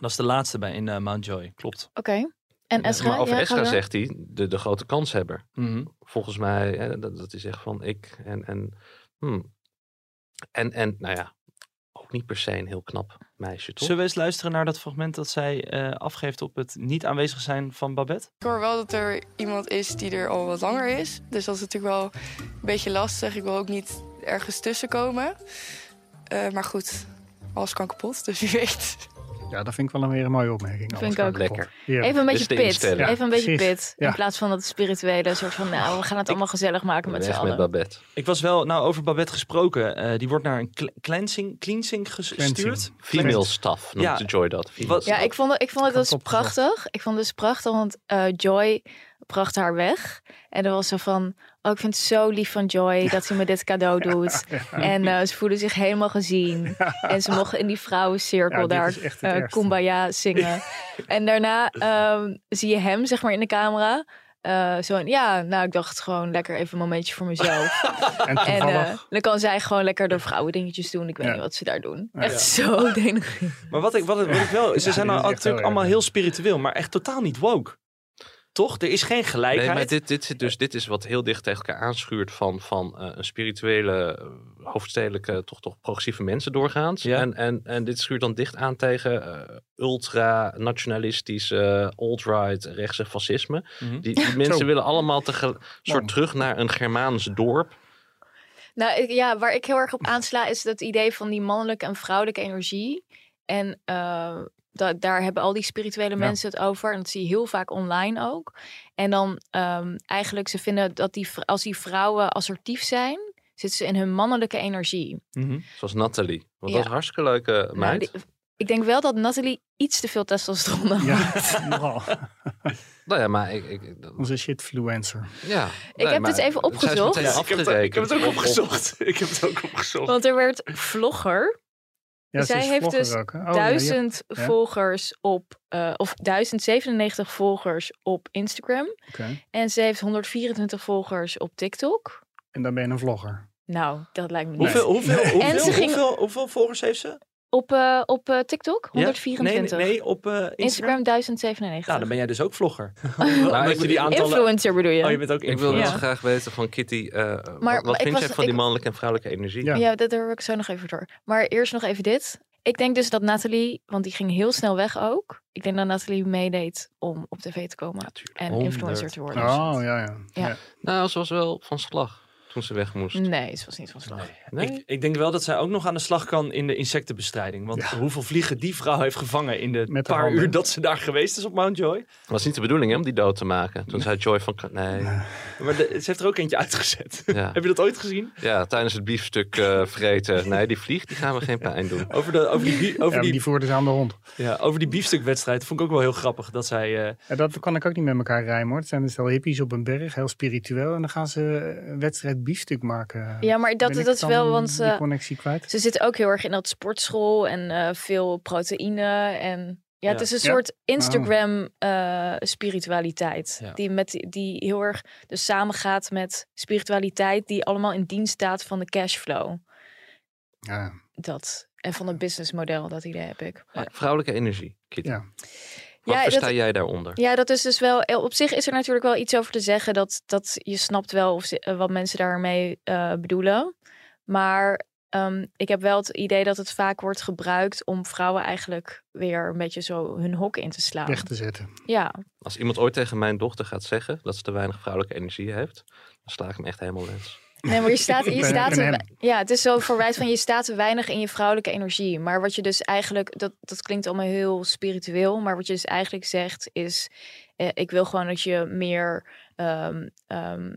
Dat is de laatste bij in eh, Mount Joy, klopt.
oké. En Esra?
maar over
ja, ga
Esra
door.
zegt hij, de, de grote kanshebber.
Mhm.
volgens mij, hè, dat, dat is echt van ik en en, hmm. en en nou ja, ook niet per se een heel knap meisje, toch?
Zullen we eens luisteren naar dat fragment dat zij eh, afgeeft op het niet aanwezig zijn van Babette?
Ik hoor wel dat er iemand is die er al wat langer is. Dus dat is natuurlijk wel een beetje lastig. Ik wil ook niet ergens tussenkomen. Eh maar goed, alles kan kapot, dus wie weet.
Ja, dat vind ik wel een weer een mooie opmerking.
Vind
Alles
ik
gaat
ook.
kapot.
Lekker.
Heerlijk.
Even een
Dit
beetje
is de
pit.
instelling.
Even een beetje
precies.
pit.
Ja.
In plaats van dat spirituele soort van, nou, we gaan het allemaal gezellig maken met z'n
Weg met
allen.
Babette.
Ik was wel, nou over Babette gesproken, eh, die wordt naar een cle- cleansing, cleansing ges-
Cleansing.
gestuurd.
Female staff noemt
Ja.
de Joy dat. Female
Wat-
Ja, ik vond, het- ik vond het
Kan
dus
opgezocht.
prachtig. Ik vond het dus prachtig, want eh, Joy bracht haar weg. En dat was zo van, oh, ik vind het zo lief van Joy dat ze me dit cadeau doet. En eh, ze voelen zich helemaal gezien. En ze mochten in die vrouwencirkel
Ja, dit
daar
is echt het
eh,
ergste.
Kumbaya zingen. en daarna ehm, zie je hem, zeg maar, in de camera. Eh, zo van, ja, nou, ik dacht gewoon lekker even een momentje voor mezelf.
En
en
toevallig,
eh, dan kan zij gewoon lekker de vrouwen dingetjes doen. Ik weet
Ja.
niet wat ze daar doen. Echt zo denig.
Maar wat ik, wat, ik- wat ik wel, ze
Ja,
zijn
dit is echt
al,
heel
natuurlijk
erg.
allemaal heel spiritueel, maar echt totaal niet woke. Toch? Er is geen
Nee,
gelijkheid.
maar dit, dit, zit dus, dit is wat heel dicht tegen elkaar aanschuurt van, van eh, een spirituele, eh, hoofdstedelijke, toch toch progressieve mensen doorgaans.
Ja.
En, en, en dit schuurt dan dicht aan tegen eh, ultra-nationalistische, eh, alt-right, rechtse fascisme.
Mhm.
Die, die mensen willen allemaal tegel- soort terug naar een Germaans dorp.
Nou ik- ja, waar ik heel erg op aansla is dat idee van die mannelijke en vrouwelijke energie. En eh, da- daar hebben al die spirituele mensen het over. En dat zie je heel vaak online ook. En dan ehm, eigenlijk, ze vinden dat die, vr- als die vrouwen assertief zijn, zitten ze in hun mannelijke energie.
Mhm.
Zoals Nathalie.
Ja.
Want dat is een hartstikke leuke meid.
Nou, die- ik denk wel dat Nathalie iets te veel testosteron had.
ja, nogal.
Nou ja, maar ik... ik ik- dat-
Onze shitfluencer.
ja.
heb dit
maar
even
het- zij is
opgezocht.
meteen
Ja, ik heb het-
afgerekend.
ik heb het ook
Op- op-
opgezocht. Ik heb het ook opgezocht.
Want er werd vlogger
Ja, ze
Zij
is
heeft
vlogger
dus
ook, hè? Oh, ja, ja.
duizend
Ja.
volgers op, eh, of 1097 volgers op Instagram.
Oké.
En ze heeft 124 volgers op TikTok.
En dan ben je een vlogger.
Nou, dat lijkt me niet.
Hoeveel, hoeveel, hoeveel,
en ze ging
hoeveel, hoeveel volgers heeft ze?
op, eh, op eh, TikTok
Ja?
124.
Nee, nee, op eh, Instagram.
Instagram 1097.
Nou, dan ben jij dus ook vlogger.
Maar
Omdat
ik-
je die aantallen...
Influencer bedoel je?
Oh, je bent ook
Ik wil
influencer.
wel graag weten van Kitty, eh, wat-
maar
wat
ik
vind
was-
jij van die
ik-
mannelijke en vrouwelijke energie?
Ja.
Ja, dat daar wil ik zo nog even door. Maar eerst nog even dit. Ik denk dus dat Nathalie, want die ging heel snel weg ook. Ik denk dat Nathalie meedeed om op tv te komen en influencer te worden.
Oh, ja, ja.
Ja.
ja.
Nou, ze was wel van slag toen ze weg
Oh,
moest.
Dus Nee, ze was niet van slag.
Nee?
Ik, ik denk wel dat zij ook nog aan de slag kan in de insectenbestrijding. Want hoeveel vliegen die vrouw heeft gevangen in de
Met haar
paar
handen.
uur dat ze daar geweest is op Mount Joy.
was niet de bedoeling hè, om die dood te maken. Toen zei Joy van... Nee.
Maar de- ze heeft er ook eentje uitgezet.
Ja.
Heb je dat ooit gezien?
Ja, tijdens het biefstuk eh, vreten. Nee, die vlieg, die gaan we geen pijn doen.
Over, de, over die, bie-
Ja,
over
maar
die,
die voerde ze aan de hond.
ja, over die biefstukwedstrijd vond ik ook wel heel grappig. Dat zij, eh,
Ja, dat kan ik ook niet met elkaar rijmen hoor. Het zijn een stel hippies op een berg, heel spiritueel. En dan gaan ze eh, een wedstrijd biefstuk maken.
Ja, maar dat,
Ben ik
dat is
dan
wel, want
die
eh,
connectie kwijt.
ze zit ook heel erg in dat sportschool en eh, veel proteïne. En ja, het
Ja.
is een
Ja.
soort Instagram-spiritualiteit.
Ja.
Die, met, die heel erg dus samengaat met spiritualiteit, die allemaal in dienst staat van de cashflow.
Ja.
Dat. En van het businessmodel, dat idee heb ik. Maar-
Vrouwelijke energie, Kitty. Wat
Ja.
Ja, dat-
versta jij daaronder?
Ja, dat is dus wel. eh, Op zich is er natuurlijk wel iets over te zeggen. Dat, dat je snapt wel of ze- eh, wat mensen daarmee eh, bedoelen. Maar ehm, ik heb wel het idee dat het vaak wordt gebruikt om vrouwen eigenlijk weer een beetje zo hun hok in te slaan.
Weg te zetten.
Ja,
Als iemand ooit tegen mijn dochter gaat zeggen dat ze te weinig vrouwelijke energie heeft, dan sla ik hem echt helemaal lens.
nee, maar je staat,
Ik
je
ben-
staat
ik ben
te-
hem.
ja, het is zo verwijt van je staat te weinig in je vrouwelijke energie. Maar wat je dus eigenlijk, dat, dat klinkt allemaal heel spiritueel, maar wat je dus eigenlijk zegt is, eh, ik wil gewoon dat je meer, ehm, ehm,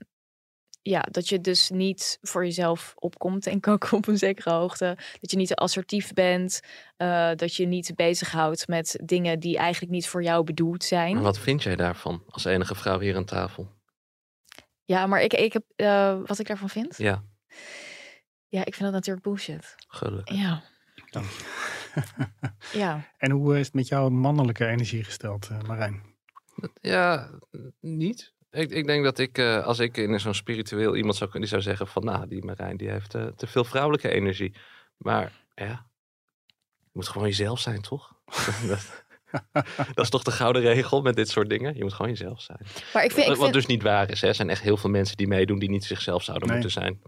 ja, dat je dus niet voor jezelf opkomt en ook op een zekere hoogte. Dat je niet te assertief bent, eh, dat je niet bezighoudt met dingen die eigenlijk niet voor jou bedoeld zijn.
Maar wat vind jij daarvan als enige vrouw hier aan tafel?
Ja, maar ik, ik heb, eh, wat ik daarvan vind?
Ja,
Ja, ik vind dat natuurlijk bullshit.
gelukkig.
Eh,
Ja. ja.
En hoe eh, is het met jouw mannelijke energie gesteld, eh, Marijn?
Ja, niet. Ik, ik denk dat ik, eh, als ik in zo'n spiritueel iemand zou kunnen, die zou zeggen van, nou, die Marijn, die heeft eh, te veel vrouwelijke energie. Maar ja, je moet gewoon jezelf zijn, toch? dat, dat is toch de gouden regel met dit soort dingen? Je moet gewoon jezelf zijn.
Maar ik vind, ik
Wat
vind,
dus niet waar is. Hè. Er zijn echt heel veel mensen die meedoen die niet zichzelf zouden
Nee.
moeten zijn.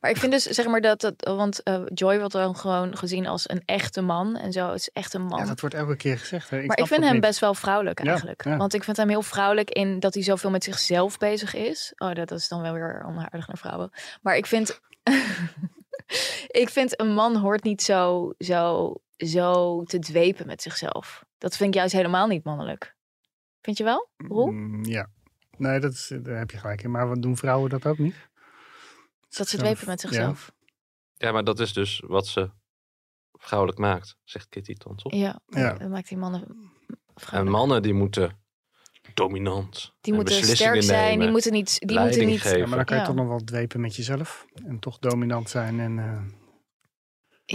maar ik vind dus, zeg maar, dat, dat want eh, Joy wordt dan gewoon gezien als een echte man. En zo, het is echt een man.
Ja, dat wordt elke keer gezegd. Hè. Ik
maar ik
snap
vind
dat
hem
niet.
best wel vrouwelijk
Ja,
eigenlijk.
ja.
Want ik vind hem heel vrouwelijk in dat hij zoveel met zichzelf bezig is. Oh, dat is dan wel weer onaardig naar vrouwen. Maar ik vind, ik vind een man hoort niet zo, zo, zo te dwepen met zichzelf. Dat vind ik juist helemaal niet mannelijk. Vind je wel? Roel?
Mm, ja. Nee, dat is, eh, daar heb je gelijk in. Maar wat doen vrouwen dat ook niet?
Dat ze
Zelf,
dwepen met
ja.
zichzelf.
Ja, maar dat is dus wat ze vrouwelijk maakt, zegt Kitty dan, toch?
Ja.
Ja.
Dat maakt die mannen
En
vrouwelijk.
mannen die moeten dominant
Die
en
moeten
beslissingen
sterk zijn, die
nemen,
moeten niet. Die moeten
leiding
niet
Ja,
geven.
maar dan kan je
Ja.
toch nog wel dwepen met jezelf. En toch dominant zijn. En, eh,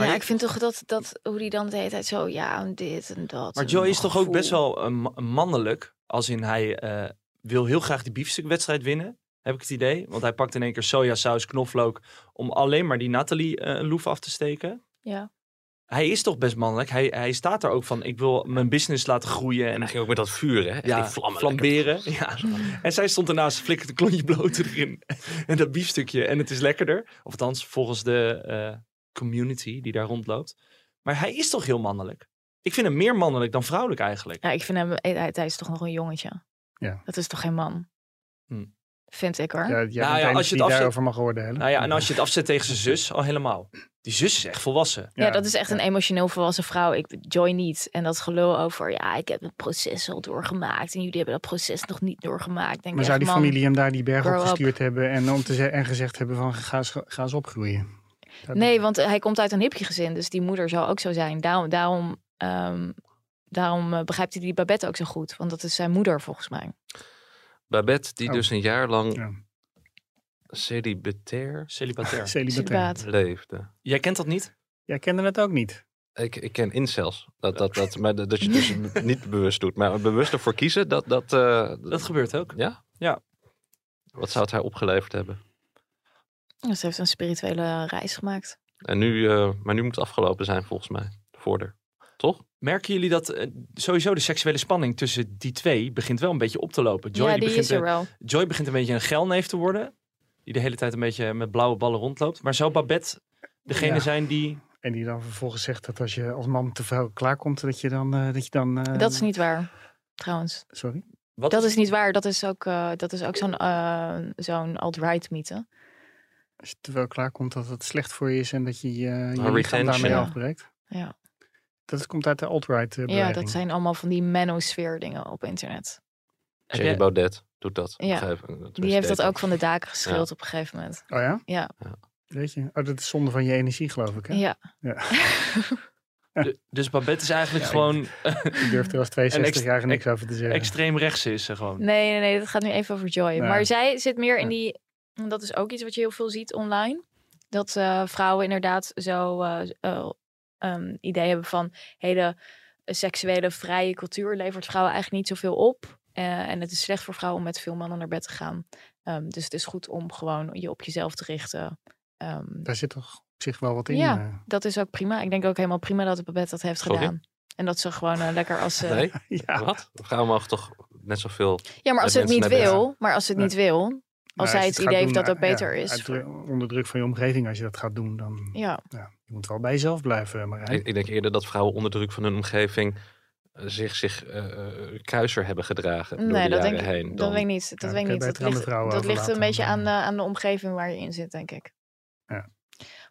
ja, ik vind toch dat, dat hoe die dan de hele tijd zo, ja, en dit en dat.
maar
en
Joy is
dat
toch ook
gevoel.
best wel eh, ma- mannelijk. Als in hij eh, wil heel graag die biefstukwedstrijd winnen. Heb ik het idee. Want hij pakt in één keer sojasaus, knoflook. Om alleen maar die Nathalie eh, een loef af te steken.
Ja.
Hij is toch best mannelijk. Hij, hij staat er ook van, ik wil mijn business laten groeien.
En
En
dan ging ook met dat vuur, hè? Echt
ja,
die vlammen
flamberen.
lekker.
Ja. En zij stond ernaast, flikkerde een klontje bloot erin. en dat biefstukje. En het is lekkerder. Of althans, volgens de eh, community die daar rondloopt. Maar hij is toch heel mannelijk? Ik vind hem meer mannelijk dan vrouwelijk eigenlijk.
Ja, ik vind hem, eh, hij, hij is toch nog een jongetje.
Ja.
Dat is toch geen man?
Hm.
Vind ik hoor.
ja, jij bent de
Nou ja, als je
enige
het
die
afzet-
daarover mag oordelen.
Nou ja, en als je het afzet tegen zijn zus, al helemaal. Die zus is echt volwassen.
Ja, dat is echt een emotioneel volwassen vrouw. Ik joy niet. En dat gelul over, ja, ik heb het proces al doorgemaakt. En jullie hebben dat proces nog niet doorgemaakt. Denk
Maar
ik echt,
zou die
man,
familie hem daar die berg op
grow up.
gestuurd hebben en, om te ze- en gezegd hebben van ga, eens- ga eens opgroeien? Dat-
Nee, want eh, hij komt uit een hipje gezin, dus die moeder zou ook zo zijn. Daarom, daarom, ehm, daarom eh, begrijpt hij die Babette ook zo goed, want dat is zijn moeder volgens mij.
Babette, die
Oh.
dus een jaar lang
Ja.
celibatair
Celibatair.
Celibatair.
Dus Inderdaad.
leefde.
Jij kent dat niet?
Jij kende het ook niet.
Ik, ik ken incels. Dat, dat, dat, maar dat dat je het dus niet bewust doet. Maar bewust ervoor kiezen, dat... Dat, eh,
Dat gebeurt ook.
ja?
Ja.
Wat zou het haar opgeleverd hebben?
Dus ze heeft een spirituele reis gemaakt.
En nu, eh, maar nu moet het afgelopen zijn volgens mij. De voordeur. Toch?
Merken jullie dat eh, sowieso de seksuele spanning tussen die twee begint wel een beetje op te lopen? Joy,
ja,
die
die,
begint
is er
een-
wel.
Joy begint een beetje een gelneef te worden. Die de hele tijd een beetje met blauwe ballen rondloopt. Maar zou Babette degene
Ja.
zijn die...
En die dan vervolgens zegt dat als je als man te veel klaarkomt, dat je dan... eh, dat je dan eh,
Dat is niet waar, trouwens.
Sorry?
Wat
Dat is niet waar. Dat is ook, eh, dat is ook zo'n eh, zo'n alt-right mythe.
Als je te veel klaarkomt, dat het slecht voor je is en dat je eh, je lichaam
retention.
daarmee
Ja.
afbreekt.
Ja.
Dat komt uit de alt-right
ja,
eh, beweging.
dat zijn allemaal van die manosfeer dingen op internet.
Heb
Jerry
jij-
Baudet doet dat.
Ja.
Begrijp- tenminste,
Die heeft dat
deed
ook van de daken geschild op een gegeven moment.
Oh ja?
Ja.
Weet je? Oh, dat is zonde van je energie, geloof ik. Hè?
Ja.
de- dus Babette is eigenlijk gewoon
Ik durf er als
ex-
62 jaar niks
ex-
over te zeggen.
extreem rechts is. eh, Gewoon.
Nee, nee, nee, dat gaat nu even over Joy.
Nee.
Maar zij zit meer in
Nee.
die. en Dat is ook iets wat je heel veel ziet online. Dat eh, vrouwen inderdaad zo eh eh, ehm, idee hebben van hele seksuele vrije cultuur levert vrouwen eigenlijk niet zoveel op. Eh, en het is slecht voor vrouwen om met veel mannen naar bed te gaan. Ehm, dus het is goed om gewoon je op jezelf te richten. Ehm,
Daar zit toch op zich wel wat in.
Ja.
eh.
dat is ook prima. Ik denk ook helemaal prima dat Babette dat heeft
Sorry?
gedaan. En dat ze gewoon eh, lekker als ze...
Nee?
ja. Nou,
Wat? Vrouwen mogen toch net zoveel...
Ja, maar als ze
Dat
het
mensen
niet
naar bed
wil, maar als ze het
Nee.
niet wil,
Nou,
als zij
je
het
gaat
idee heeft
doen,
dat dat
eh,
beter
ja,
is.
uit dru- onder druk van je omgeving, als je dat gaat doen, dan... Ja.
ja.
je moet wel bij jezelf blijven, Marijn.
Ik, ik denk eerder dat vrouwen onder druk van hun omgeving... eh, zich, zich eh, eh, kuiser hebben gedragen door de
dat
jaren
denk ik,
heen.
dat
dan-
weet ik niet. Dat
Ja,
weet ik
kun
niet.
je
Dat
beter aan de
ligt,
vrouwen
dat ligt een
overlaten
beetje
dan,
aan,
eh.
eh, aan de omgeving waar je in zit, denk ik.
Ja.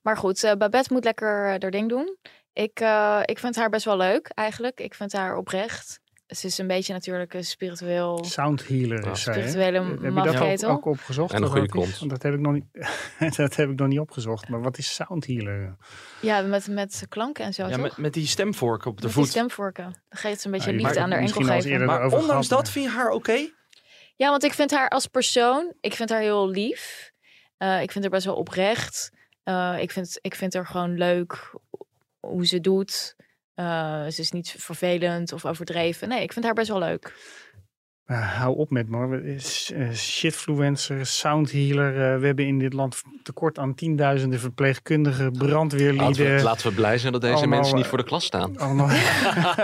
Maar goed, eh, Babette moet lekker eh, haar ding doen. Ik, eh, ik vind haar best wel leuk, eigenlijk. Ik vind haar oprecht. Ze is een beetje natuurlijk een spiritueel...
Sound healer
Ja.
is zij. hè?
Spirituele
Heb je dat ook,
mafketel?
ook opgezocht?
En een
wat
goede
dat is?
kont.
Want Dat heb, ik nog niet, dat heb ik nog niet opgezocht. Maar wat is sound healer?
Ja, met, met klanken en zo,
Ja,
toch?
met, met die stemvork op de
Met die
voet.
stemvorken. Dan geeft ze een beetje
Nou, je
liefde
mag
aan haar enkel
misschien al eens
geven.
eerder
Maar
over
ondanks
gehad,
dat
maar-
vind je haar oké?
Ja, want ik vind haar als persoon, ik vind haar heel lief. Eh, ik vind haar best wel oprecht. Eh, ik, vind, ik vind haar gewoon leuk hoe ze doet. Eh, ze is niet vervelend of overdreven. Nee, ik vind haar best wel leuk.
Eh, hou op met me. hoor. Eh, s- eh, Shitfluencer, sound healer. eh, we hebben in dit land tekort aan tienduizenden verpleegkundigen,
Laten we,
brandweerlieden.
laten we blij zijn dat deze
allemaal,
mensen niet
eh,
voor de klas staan.
Allemaal,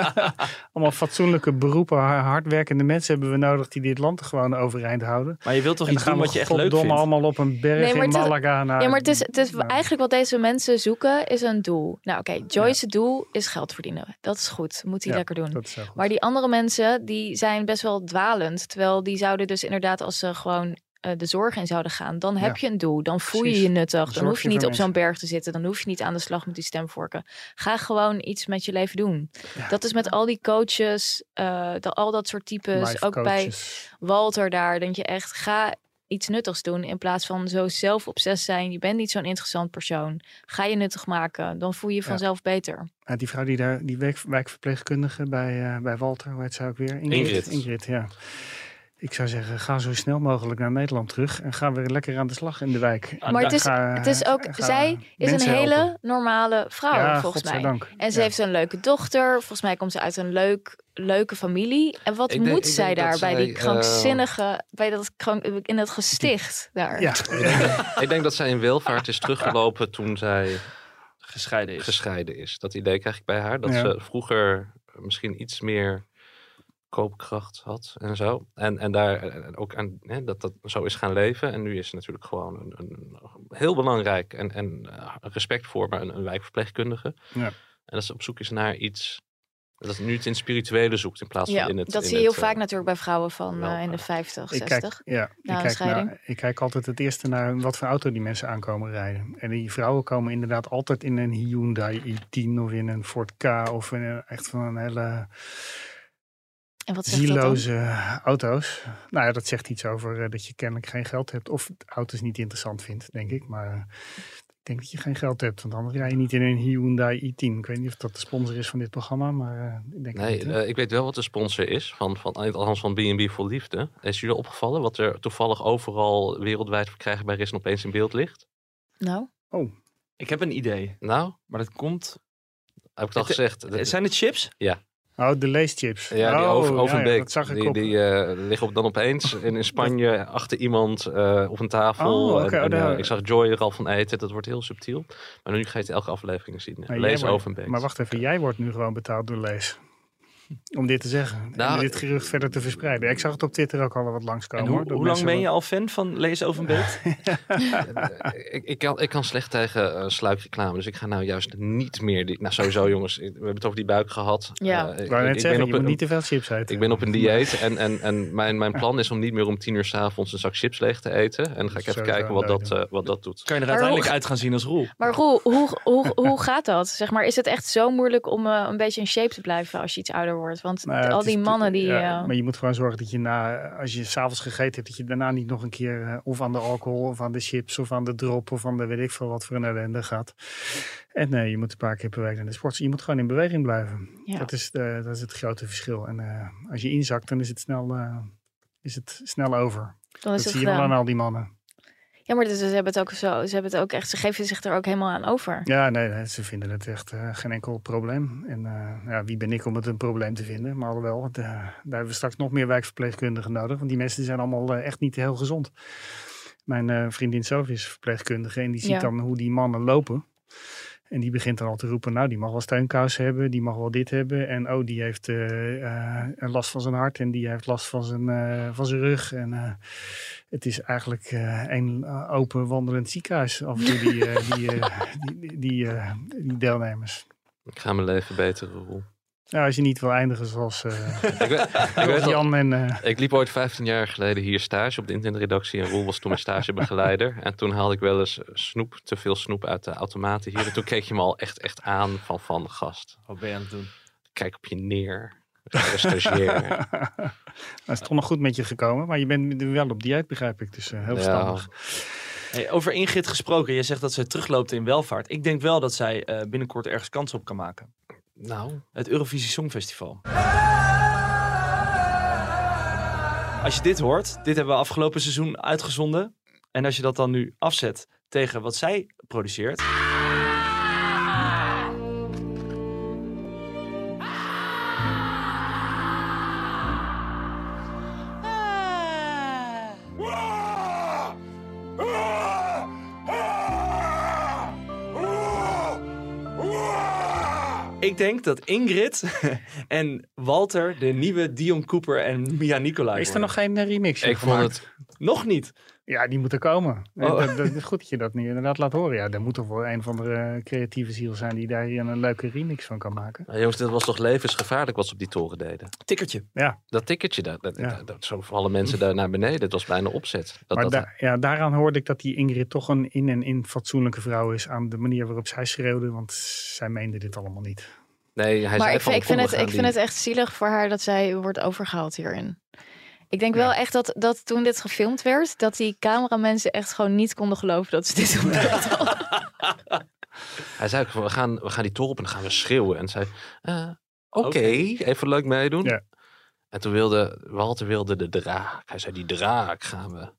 allemaal fatsoenlijke beroepen, ha- hardwerkende mensen hebben we nodig die dit land gewoon overeind houden.
Maar je wilt toch
En dan
iets doen
gaan
wat
we
je echt leuk
goddomme
vindt?
allemaal op een berg
Nee, maar
in
het is-
Malaga. naar-
ja, maar het is, het is
Nou,
eigenlijk wat deze mensen zoeken, is een doel. Nou oké, Joyce's doel is geld verdienen. Dat is goed, moet hij
Ja,
lekker doen.
Dat is wel goed.
Maar die andere mensen, die zijn best wel dwalend. Terwijl die zouden dus inderdaad, als ze gewoon eh, de zorg in zouden gaan, dan heb je een doel. Dan voel je
Precies.
je nuttig. Dan
Zorg
hoef je
je
niet
voor
op zo'n
mensen.
berg te zitten. Dan hoef je niet aan de slag met die stemvorken. Ga gewoon iets met je leven doen.
Ja.
Dat is met al die coaches, eh, de- al dat soort types.
Life
dus ook bij
coaches.
Walter daar, denk je echt, ga iets nuttigs doen in plaats van zo zelf obsessief zijn. Je bent niet zo'n interessant persoon. Ga je nuttig maken, dan voel je je
Ja.
vanzelf beter.
Ja, Ah, die vrouw die daar, die wijk- wijkverpleegkundige bij, eh, bij Walter, hoe heet ze ook weer?
Ingrid.
ja. Ik zou zeggen, ga zo snel mogelijk naar Nederland terug en ga weer lekker aan de slag in de wijk. En
Maar het
ga-
is, het is ook,
ga
zij is een
mensen
hele
helpen.
normale vrouw,
ja,
volgens mij.
godzijdank.
En ze
Ja.
heeft een leuke dochter. Volgens mij komt ze uit een leuk, leuke familie. En wat
Ik
moet
denk- ik
zij
denk
daar
dat
bij
zij, eh,
die krankzinnige, bij dat krank, in dat gesticht daar?
Ja,
Ik denk dat zij in welvaart is teruggelopen toen zij
Gescheiden is.
gescheiden is. Dat idee krijg ik bij haar. Dat
Ja.
ze vroeger misschien iets meer koopkracht had en zo. En, en daar en ook aan hè, dat dat zo is gaan leven. En nu is ze natuurlijk gewoon een, een heel belangrijk en, en eh, respect voor maar een, een wijkverpleegkundige.
Ja.
En dat ze op zoek is naar iets dat ze nu het in spirituele zoekt in plaats
Ja,
van in het...
dat
in
zie je heel
het, eh,
vaak natuurlijk bij vrouwen van eh, in de
welvaart.
50,
ik
60.
kijk, ja,
Na een
ik, kijk
scheiding.
naar, ik kijk altijd het eerste naar wat voor auto die mensen aankomen rijden. En die vrouwen komen inderdaad altijd in een Hyundai i10 of in een Ford K of in een, echt van een hele...
en wat zegt dat dan?
zieloze auto's. Nou ja, dat zegt iets over eh, dat je kennelijk geen geld hebt. Of auto's niet interessant vindt, denk ik. Maar eh, ik denk dat je geen geld hebt. Want anders rij je niet in een Hyundai i10. Ik weet niet of dat de sponsor is van dit programma. Maar eh, ik denk het
Nee,
niet, hè?
eh, ik weet wel wat de sponsor is van, van eh, althans van B&B voor Liefde. Is jullie opgevallen wat er toevallig overal wereldwijd verkrijgbaar is en opeens in beeld ligt?
Nou,
Oh,
Ik heb een idee.
Nou,
Maar dat komt
Heb ik het al
eh,
Het-
gezegd?
Zijn het chips?
Ja.
Oh, de leeschips.
Ja, die
oh,
over,
ja,
overbekt.
ja, dat zag ik
die
op.
die eh, liggen op dan opeens in, in Spanje achter iemand eh, op een tafel.
Oh, oké,
En- en,
oh,
eh,
daar-
ik zag Joy er al van eten. Dat wordt heel subtiel. Maar nu ga je het elke aflevering zien.
Maar jij
Lees
wordt-
Overbeek.
Maar wacht even, jij wordt nu gewoon betaald door Lees. Om dit te zeggen.
Nou,
en dit gerucht verder te verspreiden. Ik zag het op Twitter ook al wat langskomen.
En hoe,
hoor, dat
hoe lang
mensen
ben je
wat-
al fan van Lees Overbeek?
ik, ik, kan, ik kan slecht tegen eh sluikreclame. Dus ik ga nou juist niet meer... Die, nou, sowieso jongens. ik- We hebben het over die buik gehad.
Ja.
Eh,
Ik wou net zeggen, je moet niet te veel chips eten.
Ik ben op een dieet en, en, en mijn, mijn plan is om niet meer om tien uur s'avonds een zak chips leeg te eten. En dan ga ik even
Sowieso
kijken wat
een
dat, eh, wat dat doet.
Kan je er
Maar
uiteindelijk
hoe-
uit gaan zien als Roel?
Maar Roel, hoe, hoe, hoe gaat dat? Zeg maar, is het echt zo moeilijk om eh, een beetje in shape te blijven als je iets ouder wordt? Want
Nou ja,
al
het is
die
te-
mannen die...
ja,
eh,
maar je moet gewoon zorgen dat je na, als je s'avonds gegeten hebt, dat je daarna niet nog een keer eh, of aan de alcohol, of aan de chips, of aan de drop, of aan de weet ik veel wat voor een ellende gaat. En nee, je moet een paar keer per week naar de sport. Je moet gewoon in beweging blijven.
Ja.
Dat, is, eh, dat is het grote verschil. En eh, als je inzakt, dan is het snel, eh, is het snel over.
dan
Dat
is het
zie je wel
gedaan.
aan al die mannen.
Ja, maar dus ze hebben het ook zo. Ze hebben het ook echt. Ze geven zich er ook helemaal aan over.
Ja, nee, nee, ze vinden het echt eh, geen enkel probleem. En eh, ja, wie ben ik om het een probleem te vinden? Maar alhoewel, de- daar hebben we straks nog meer wijkverpleegkundigen nodig. Want die mensen zijn allemaal eh, echt niet heel gezond. Mijn eh, vriendin Sophie is verpleegkundige en die ziet
Ja.
dan hoe die mannen lopen. En die begint dan al te roepen, nou die mag wel steunkous hebben, die mag wel dit hebben. En oh, die heeft eh, eh, last van zijn hart en die heeft last van zijn, eh, van zijn rug. En eh, het is eigenlijk eh, een eh, open wandelend ziekenhuis af en toe die, eh, die, eh, die, die, die, eh, die deelnemers.
Ik ga mijn leven beteren, Roel.
Nou, als je niet wil eindigen zoals eh,
Ik, weet- ik, weet al-
Jan en... eh,
ik liep ooit 15 jaar geleden hier stage op de internetredactie. En Roel was toen mijn stagebegeleider. En toen haalde ik wel eens snoep, te veel snoep uit de automaten hier. En toen keek je me al echt, echt aan van, van gast.
Wat Oh, ben je aan het doen?
Kijk op je neer. Eh, Stagiair.
het is toch nog goed met je gekomen, maar je bent nu wel op dieet, begrijp ik. Dus eh, heel verstandig.
Hey, over Ingrid gesproken, jij zegt dat zij terugloopt in welvaart. Ik denk wel dat zij eh, binnenkort ergens kans op kan maken.
Nou,
Het Eurovisie Songfestival. Als je dit hoort, dit hebben we afgelopen seizoen uitgezonden. En als je dat dan nu afzet tegen wat zij produceert. Ik denk dat Ingrid en Walter de nieuwe Dion Cooper en Mia Nicolai
Is er
worden.
nog geen eh, remix
ik vond het...
Nog niet.
Ja, die moet er komen. Eh,
Oh.
Dat, dat is goed dat je dat nu inderdaad laat horen. Ja, er moet toch wel een van de creatieve ziel zijn die daar een leuke remix van kan maken.
Nou, jongens, dit was toch levensgevaarlijk wat ze op die toren deden?
Tikkertje.
Dat ticketje, dat, dat,
Ja.
dat, dat- zo vallen mensen daar naar beneden. Dat was bijna opzet. Dat,
maar
dat,
da- ja, daaraan hoorde ik dat die Ingrid toch een in en in fatsoenlijke vrouw is aan de manier waarop zij schreeuwde, want zij meende dit allemaal niet.
nee, hij
maar
zei
ik,
van,
vind- ik vind,
"Kom, we
het,
gaan
ik vind
die-
het echt zielig voor haar dat zij wordt overgehaald hierin. Ik denk wel echt dat, dat toen dit gefilmd werd, dat die cameramensen echt gewoon niet konden geloven dat ze dit doen.
Hij zei ook, van, we gaan, we gaan die toren op en dan gaan we schreeuwen. En zei, eh, oké,
Oké.
even leuk meedoen.
Ja.
En toen wilde, Walter wilde de draak. Hij zei, die draak gaan we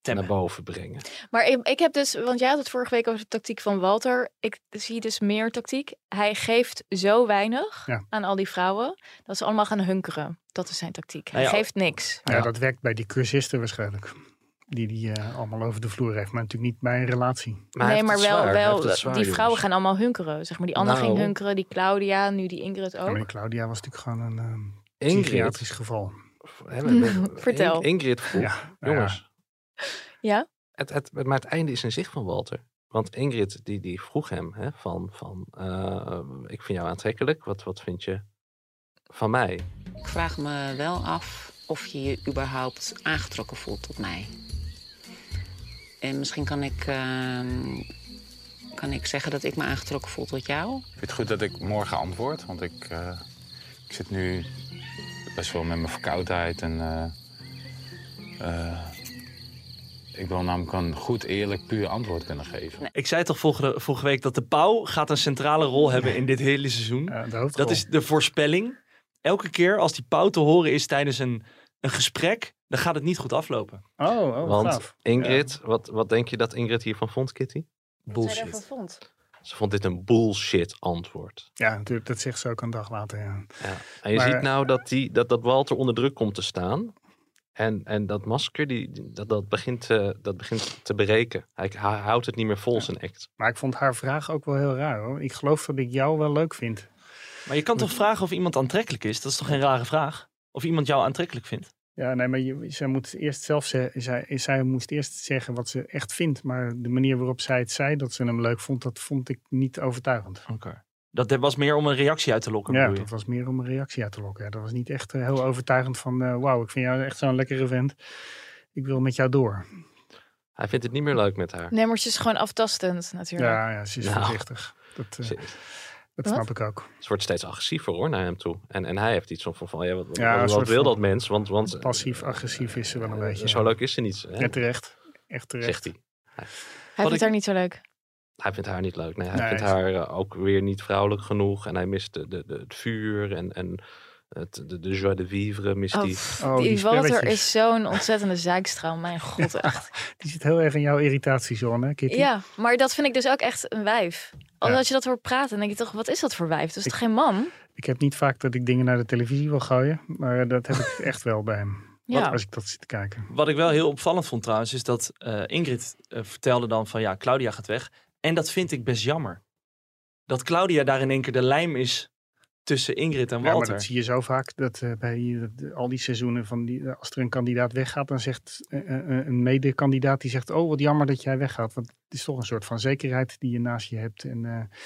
Temmen.
naar boven brengen.
Maar ik, ik heb dus, want jij had het vorige week over de tactiek van Walter. Ik zie dus meer tactiek. Hij geeft zo weinig
Ja.
aan al die vrouwen dat ze allemaal gaan hunkeren. Dat is zijn tactiek. Hij
Nou ja,
geeft niks.
Ja,
Ja.
dat werkt bij die cursisten waarschijnlijk. Die die eh, allemaal over de vloer heeft, maar natuurlijk niet bij een relatie.
Maar hij
nee,
heeft
maar
het
wel,
zwaar, hij
wel
heeft het zwaar,
die
jongens.
vrouwen gaan allemaal hunkeren. Zeg maar, die Anne
Nou.
ging hunkeren, die Claudia, nu die Ingrid
Ja, maar die
ook.
Claudia was natuurlijk gewoon een eh,
Ingrid,
psychiatrisch geval.
hè, we- we-
Vertel.
Ing- Ingrid vroeg,
Ja, nou
jongens.
Ja?
Het, het, maar het einde is in zicht van Walter. Want Ingrid die, die vroeg hem hè, van, van eh, ik vind jou aantrekkelijk. Wat, wat vind je van mij?
Ik vraag me wel af of je je überhaupt aangetrokken voelt tot mij. En misschien kan ik, ehm, kan ik zeggen dat ik me aangetrokken voel tot jou.
Ik vind het goed dat ik morgen antwoord, want ik, eh, ik zit nu best wel met mijn verkoudheid. En, eh, eh, ik wil namelijk een goed, eerlijk, puur antwoord kunnen geven.
Ik zei toch vorige, vorige week dat de pauw gaat een centrale rol hebben in dit hele seizoen.
Ja, de hoofdrol.
Dat is de voorspelling. Elke keer als die pauw te horen is tijdens een, een gesprek, dan gaat het niet goed aflopen.
Oh, oh wat
Want
gaaf.
Ingrid, wat, wat denk je dat Ingrid hiervan vond, Kitty?
Wat zij
Bullshit.
vond.
Ze vond dit een bullshit antwoord.
Ja, natuurlijk, dat zegt ze ook een dag later. Ja.
Ja. En je
Maar-
ziet nou dat, die, dat, dat Walter onder druk komt te staan. En, en dat masker, die, die- dat, dat, begint, eh, dat begint te bereken. Hij, hij houdt het niet meer vol, zijn act.
Maar ik vond haar vraag ook wel heel raar hoor. Ik geloof dat ik jou wel leuk vind.
Maar je kan toch vragen of iemand aantrekkelijk is? Dat is toch geen rare vraag? Of iemand jou aantrekkelijk vindt?
Ja, nee, maar je, zij, moet eerst zelf ze, zij, zij moest eerst zeggen wat ze echt vindt. Maar de manier waarop zij het zei dat ze hem leuk vond, dat vond ik niet overtuigend.
Oké. Dat was meer om een reactie uit te lokken,
Ja,
bedoel je?
dat was meer om een reactie uit te lokken. Ja, dat was niet echt eh, heel overtuigend van... eh, wauw, ik vind jou echt zo'n lekkere vent. Ik wil met jou door.
Hij vindt het niet meer leuk met haar.
Nee, maar ze is gewoon aftastend natuurlijk.
Ja, ja ze is
Nou.
voorzichtig. Dat, eh,
Ze-
dat
Wat?
snap ik ook.
Ze wordt steeds agressiever hoor, naar hem toe. En, en hij heeft iets van, van, van ja, wat, wat-
Ja, een
wat,
soort
wil
van
dat mens? Want, want
Passief-agressief is ze wel een beetje.
zo
ja.
leuk Eh, is ze niet, hè?
Ja, terecht. Echt terecht.
zegt hij.
Hij
Wat
vindt
ik-
haar niet zo leuk.
Hij vindt haar niet leuk. Nee, hij
Nee,
vindt
hij
haar eh, ook weer niet vrouwelijk genoeg. En hij mist de, de, de- het vuur en, en het, de, de joie de vivre mist
Oh,
hij.
pff,
Oh,
die,
die
Walter
spelletjes.
is zo'n ontzettende zeikstraal. Mijn god, echt.
Die zit heel erg in jouw irritatiezone, hè, Kitty?
Ja, maar dat vind ik dus ook echt een wijf. Als
Ja.
je dat hoort praten, dan denk je toch, wat is dat voor wijf? Dat is toch geen man?
Ik heb niet vaak dat ik dingen naar de televisie wil gooien. Maar eh, dat heb ik echt wel bij hem.
Ja.
Wat Als ik dat zit te kijken.
Wat ik wel heel opvallend vond trouwens, is dat eh, Ingrid eh, vertelde dan van ja, Claudia gaat weg. En dat vind ik best jammer. Dat Claudia daar in één keer de lijm is tussen Ingrid en
Ja, maar
Walter.
dat zie je zo vaak. Dat eh, bij eh, al die seizoenen, van die, eh, als er een kandidaat weggaat, dan zegt eh, eh, een medekandidaat die zegt... Oh, wat jammer dat jij weggaat. Want het is toch een soort van zekerheid die je naast je hebt. En eh,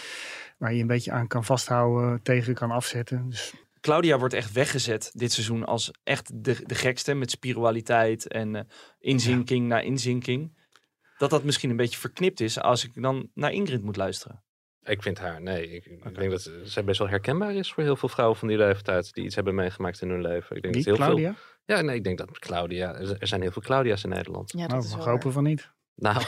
waar je een beetje aan kan vasthouden, tegen kan afzetten. Dus
Claudia wordt echt weggezet dit seizoen als echt de, de gekste met spiritualiteit en eh, inzinking na inzinking. Dat dat misschien een beetje verknipt is als ik dan naar Ingrid moet luisteren.
Ik vind haar, nee. Ik, ik denk dat ze- zij best wel herkenbaar is voor heel veel vrouwen van die leeftijd. die iets hebben meegemaakt in hun leven. Ik denk
niet,
dat heel
Claudia?
veel. Ja, nee, ik denk dat Claudia. Er er zijn heel veel Claudia's in Nederland.
Ja, dat
nou,
is
mag
wel
hopen van niet.
Nou.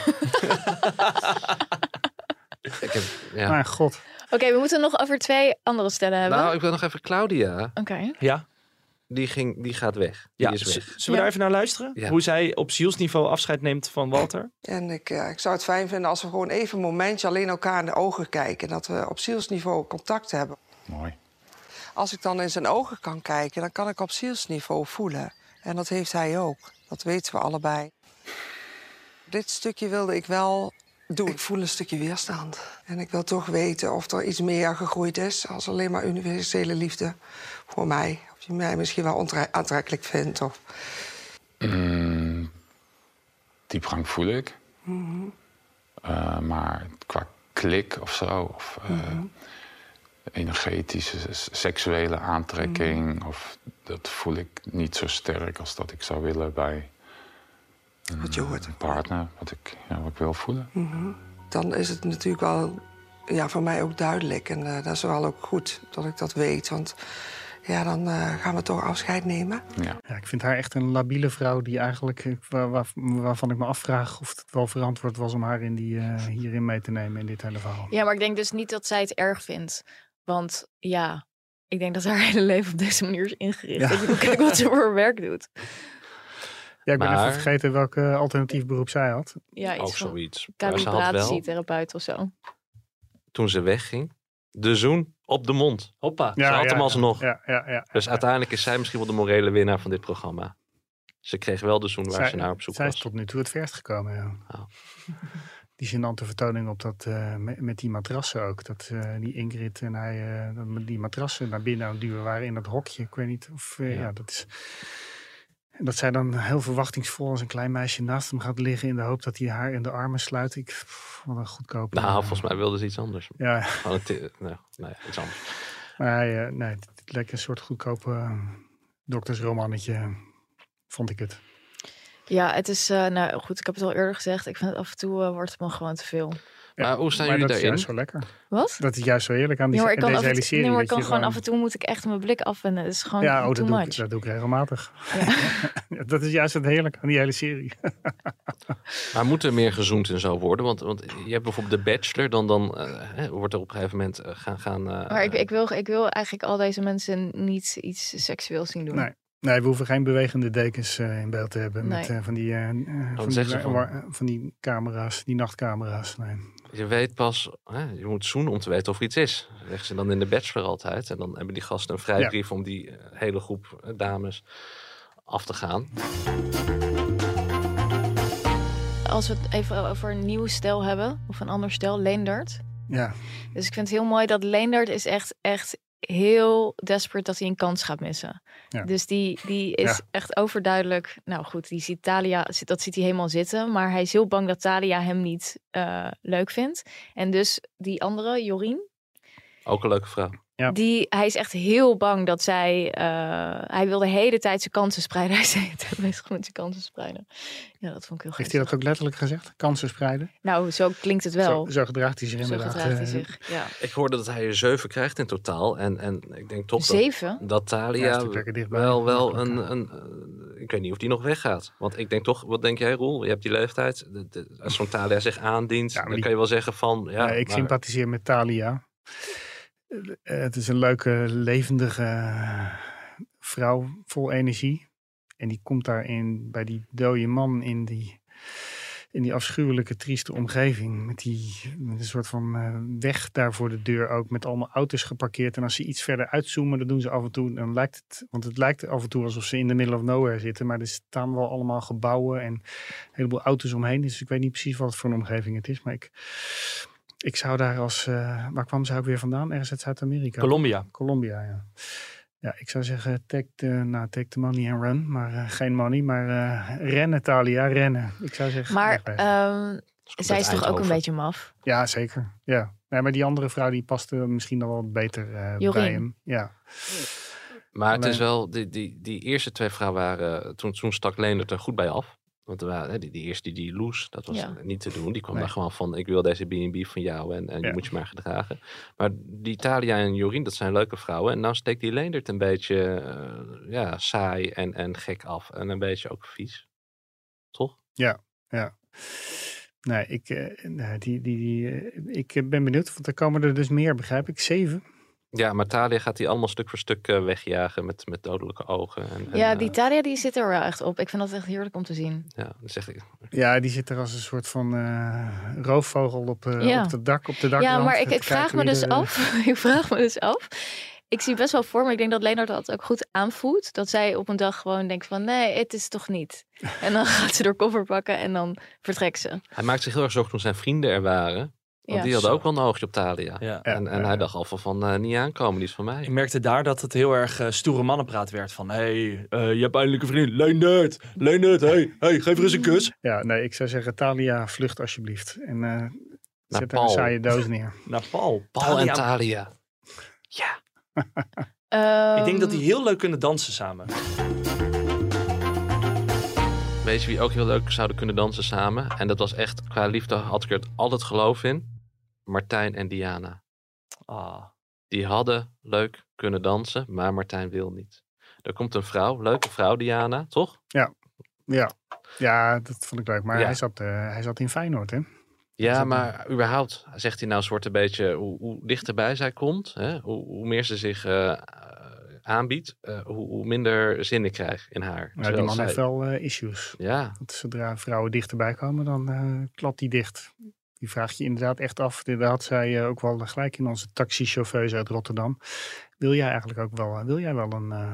ik heb, ja.
Maar god,
waar. Oké, we moeten nog over twee andere stellen hebben.
Nou, ik wil nog even Claudia.
Oké.
Ja,
Die, ging, die gaat weg. Die
ja.
is
Z-
weg.
Zullen we daar even naar luisteren?
Ja.
Hoe zij op zielsniveau afscheid neemt van Walter?
En ik, eh, ik zou het fijn vinden als we gewoon even een momentje alleen elkaar in de ogen kijken. Dat we op zielsniveau contact hebben.
Mooi.
Als ik dan in zijn ogen kan kijken, dan kan ik op zielsniveau voelen. En dat heeft hij ook. Dat weten we allebei. Dit stukje wilde ik wel doen. Ik voel een stukje weerstand. En ik wil toch weten of er iets meer gegroeid is... als alleen maar universele liefde voor mij. Of je mij misschien wel ontre- aantrekkelijk vindt. Of...
Mm, diepgang voel ik. Eh, maar qua klik of zo, of eh, energetische, s- seksuele aantrekking, of, dat voel ik niet zo sterk als dat ik zou willen bij een,
Wat je hoort.
een partner, wat ik, ja, wat ik wil voelen.
Mhm. Dan is het natuurlijk wel ja, voor mij ook duidelijk. En eh, dat is wel ook goed dat ik dat weet. Want ja, dan eh, gaan we toch afscheid nemen.
Ja.
ja, ik vind haar echt een labiele vrouw die eigenlijk, eh, waar- waar- waarvan ik me afvraag of het wel verantwoord was om haar in die, eh, hierin mee te nemen in dit hele verhaal.
Ja, maar ik denk dus niet dat zij het erg vindt. Want ja, ik denk dat haar hele leven op deze manier is ingericht.
Ja.
Ik bedoel, kijk wat ze voor werk doet.
Ja, ik ben
Maar-
even vergeten welk eh, alternatief beroep zij had.
Ja, iets
ook
van
zoiets. Maar ze had wel,
Calibratietherapeut of zo.
toen ze wegging, de zoen op de mond. Hoppa, ze had hem alsnog.
Ja, ja, ja.
Dus uiteindelijk is zij misschien wel de morele winnaar van dit programma. Ze kreeg wel de zoen waar
Zij-
ze naar op zoek
zij
was.
is tot nu toe het verst gekomen, ja.
Oh.
Die gênante vertoning op dat, eh, me- met die matrassen ook. Dat eh, die Ingrid en hij eh, dat met die matrassen naar binnen aan het duwen waren in dat hokje. Ik weet niet of... eh, ja. dat is... en Dat zij dan heel verwachtingsvol als een klein meisje naast hem gaat liggen... in de hoop dat hij haar in de armen sluit. Ik, pff, wat een goedkope... eh,
Nou, volgens mij wilde ze iets anders.
Ja,
Gewoon een te- nou, nou ja, iets anders.
maar hij, eh, nee, het, het leek een soort goedkope eh, doktersromannetje, vond ik het.
Ja, het is, eh, nou goed, ik heb het al eerder gezegd. Ik vind het af en toe eh, wordt het me gewoon te veel.
Maar hoe staan jullie
dat is
daarin?
juist zo lekker.
Wat?
Dat is juist zo eerlijk aan die,
Ja, maar ik
aan
kan, af
deze
en, toe-
hele serie.
nee, maar ik
dat
kan
je
gewoon af en toe moet ik echt mijn blik afwenden. Het is gewoon
Ja, oh,
too
dat, doe ik,
much.
dat doe ik regelmatig. Ja, dat is juist het heerlijk aan die hele serie.
Maar moet er meer gezoend en zo worden? Want, want je hebt bijvoorbeeld de bachelor, dan, dan eh, hè, wordt er op een gegeven moment eh, gaan... gaan eh,
Maar ik, ik, wil, ik wil eigenlijk al deze mensen niet iets seksueels zien doen.
Nee. Nee, we hoeven geen bewegende dekens eh, in beeld te hebben. Met
Nee.
eh, van, die, eh, eh, van,
zeggen Oh,
die,
ze
eh,
van?
wa- eh, van die camera's, die nachtcamera's. Nee.
Je weet pas, hè, je moet zoenen om te weten of er iets is. Dat zeggen ze dan in de bachelor altijd. En dan hebben die gasten een vrijbrief om die eh, hele groep eh, dames af te gaan.
Als we het even over een nieuw stel hebben, of een ander stel, Leendert.
Ja.
Dus ik vind het heel mooi dat Leendert is echt, echt heel desperate dat hij een kans gaat missen.
Ja.
Dus die, die is
Ja.
echt overduidelijk. Nou goed, die ziet Talia, dat ziet hij helemaal zitten. Maar hij is heel bang dat Talia hem niet eh, leuk vindt. En dus die andere, Jorien,
Ook een leuke vrouw.
die, hij is echt heel bang dat zij. eh, hij wil de hele tijd zijn kansen spreiden. Hij is de hele tijd bezig met zijn kansen spreiden. Ja, dat vond ik heel
Heeft hij dat ook letterlijk gezegd? Kansen spreiden?
Nou, zo klinkt het wel.
Zo, zo gedraagt hij zich
Zo
inderdaad.
gedraagt hij
eh,
zich. Ja.
Ik hoorde dat hij er zeven krijgt in totaal. En, en ik denk toch dat-
Zeven?
dat,
Ja, is
Thalia
die plekken dichtbij.
wel, wel een... een eh, ik weet niet of die nog weggaat. Want ik denk toch, wat denk jij Roel? Je hebt die leeftijd. De- de- als zo'n Thalia zich aandient, dan
die-
kan je wel zeggen van... Ja,
Ja, ik
maar-
sympathiseer met Talia. Eh, Het is een leuke, levendige eh, vrouw vol energie. En die komt daarin bij die dode man in die, in die afschuwelijke, trieste omgeving. Met, die, met een soort van eh, weg daar voor de deur ook. Met allemaal auto's geparkeerd. En als ze iets verder uitzoomen, dat doen ze af en toe. Dan lijkt het, want het lijkt af en toe alsof ze in de middle of nowhere zitten. Maar er staan wel allemaal gebouwen en een heleboel auto's omheen. Dus ik weet niet precies wat voor een omgeving het is. Maar ik, ik zou daar als. eh, waar kwam ze ook weer vandaan? Ergens uit Zuid-Amerika.
Colombia.
Colombia, ja. Ja, ik zou zeggen, take the, nou, take the money and run. Maar eh, geen money, maar eh, rennen, Talia, rennen. Ik zou zeggen,
Maar
wegwezen.
ehm, zij
uit
is toch ook een
Eindhoven.
beetje maf?
Ja, zeker. Ja. Nee, maar die andere vrouw die paste misschien dan wel beter eh bij
Jorien.
hem. Ja.
Maar het is
Alleen-
wel, die, die, die eerste twee vrouwen waren, toen, toen stak Leendert er goed bij af. Want er waren, hè, die, die eerste, die Loes, dat was
Ja.
niet te doen. Die kwam
Nee.
daar gewoon van, ik wil deze B&B van jou en, en je
Ja.
moet je maar gedragen. Maar die Talia en Jorien, dat zijn leuke vrouwen. En nou steekt die Leendert een beetje eh, ja, saai en, en gek af. En een beetje ook vies. Toch?
Ja, ja. Nee, ik, eh, nee, die, die, die, eh, ik eh, ben benieuwd, want er komen er dus meer, begrijp ik. Zeven.
Ja, maar Talia gaat die allemaal stuk voor stuk eh, wegjagen met, met dodelijke ogen. En, en,
ja,
eh,
die Talia die zit er wel echt op. Ik vind dat echt heerlijk om te zien.
ja, dan zeg ik,
Ja, die zit er als een soort van eh, roofvogel op, eh,
Ja.
op de dak. Op de dak
ja, maar ik, ik vraag me dus af. ik vraag me dus af. Ik zie best wel voor me. Ik denk dat Leonard dat ook goed aanvoelt. Dat zij op een dag gewoon denkt van nee, het is toch niet. En dan gaat ze door koffer pakken en dan vertrekt ze.
Hij maakte zich heel erg zorgen toen zijn vrienden er waren. Want
Ja.
die hadden
Zo.
ook wel een oogje op Thalia. En, en hij dacht al van, van eh, niet aankomen, die is van mij.
Ik merkte daar dat het heel erg eh, stoere mannenpraat werd. Van, hey, eh, je hebt eindelijk een vriend. Leendert, Leendert, hey, hey, geef er eens een kus.
Ja, nee, ik zou zeggen, Talia, vlucht alsjeblieft. En eh zet daar
Paul.
een saaie doos neer.
Naar Paul.
Paul en Thalia.
Ehm,
Ik denk dat die heel leuk kunnen dansen samen.
Weet je wie ook heel leuk zouden kunnen dansen samen? En dat was echt, qua liefde had ik er altijd geloof in. Martijn en Diana.
Ah.
Die hadden leuk kunnen dansen, maar Martijn wil niet. Er komt een vrouw, leuke vrouw Diana, toch?
Ja. Ja. ja, dat vond ik leuk. Maar
Ja.
hij, zat, eh, hij zat in Feyenoord, hè?
Ja, maar überhaupt, zegt hij nou, soort een beetje hoe, hoe dichterbij zij komt, hè, hoe, hoe meer ze zich eh, aanbiedt, eh, hoe, hoe minder zin ik krijg in haar.
Ja, die
Terwijl
man
zij-
heeft wel eh, issues.
Ja.
Want zodra vrouwen dichterbij komen, dan eh, klapt die dicht. Die vraag je inderdaad echt af. Daar had zij eh, ook wel gelijk in onze taxichauffeurs uit Rotterdam. Wil jij eigenlijk ook wel, eh, wil jij wel een... eh,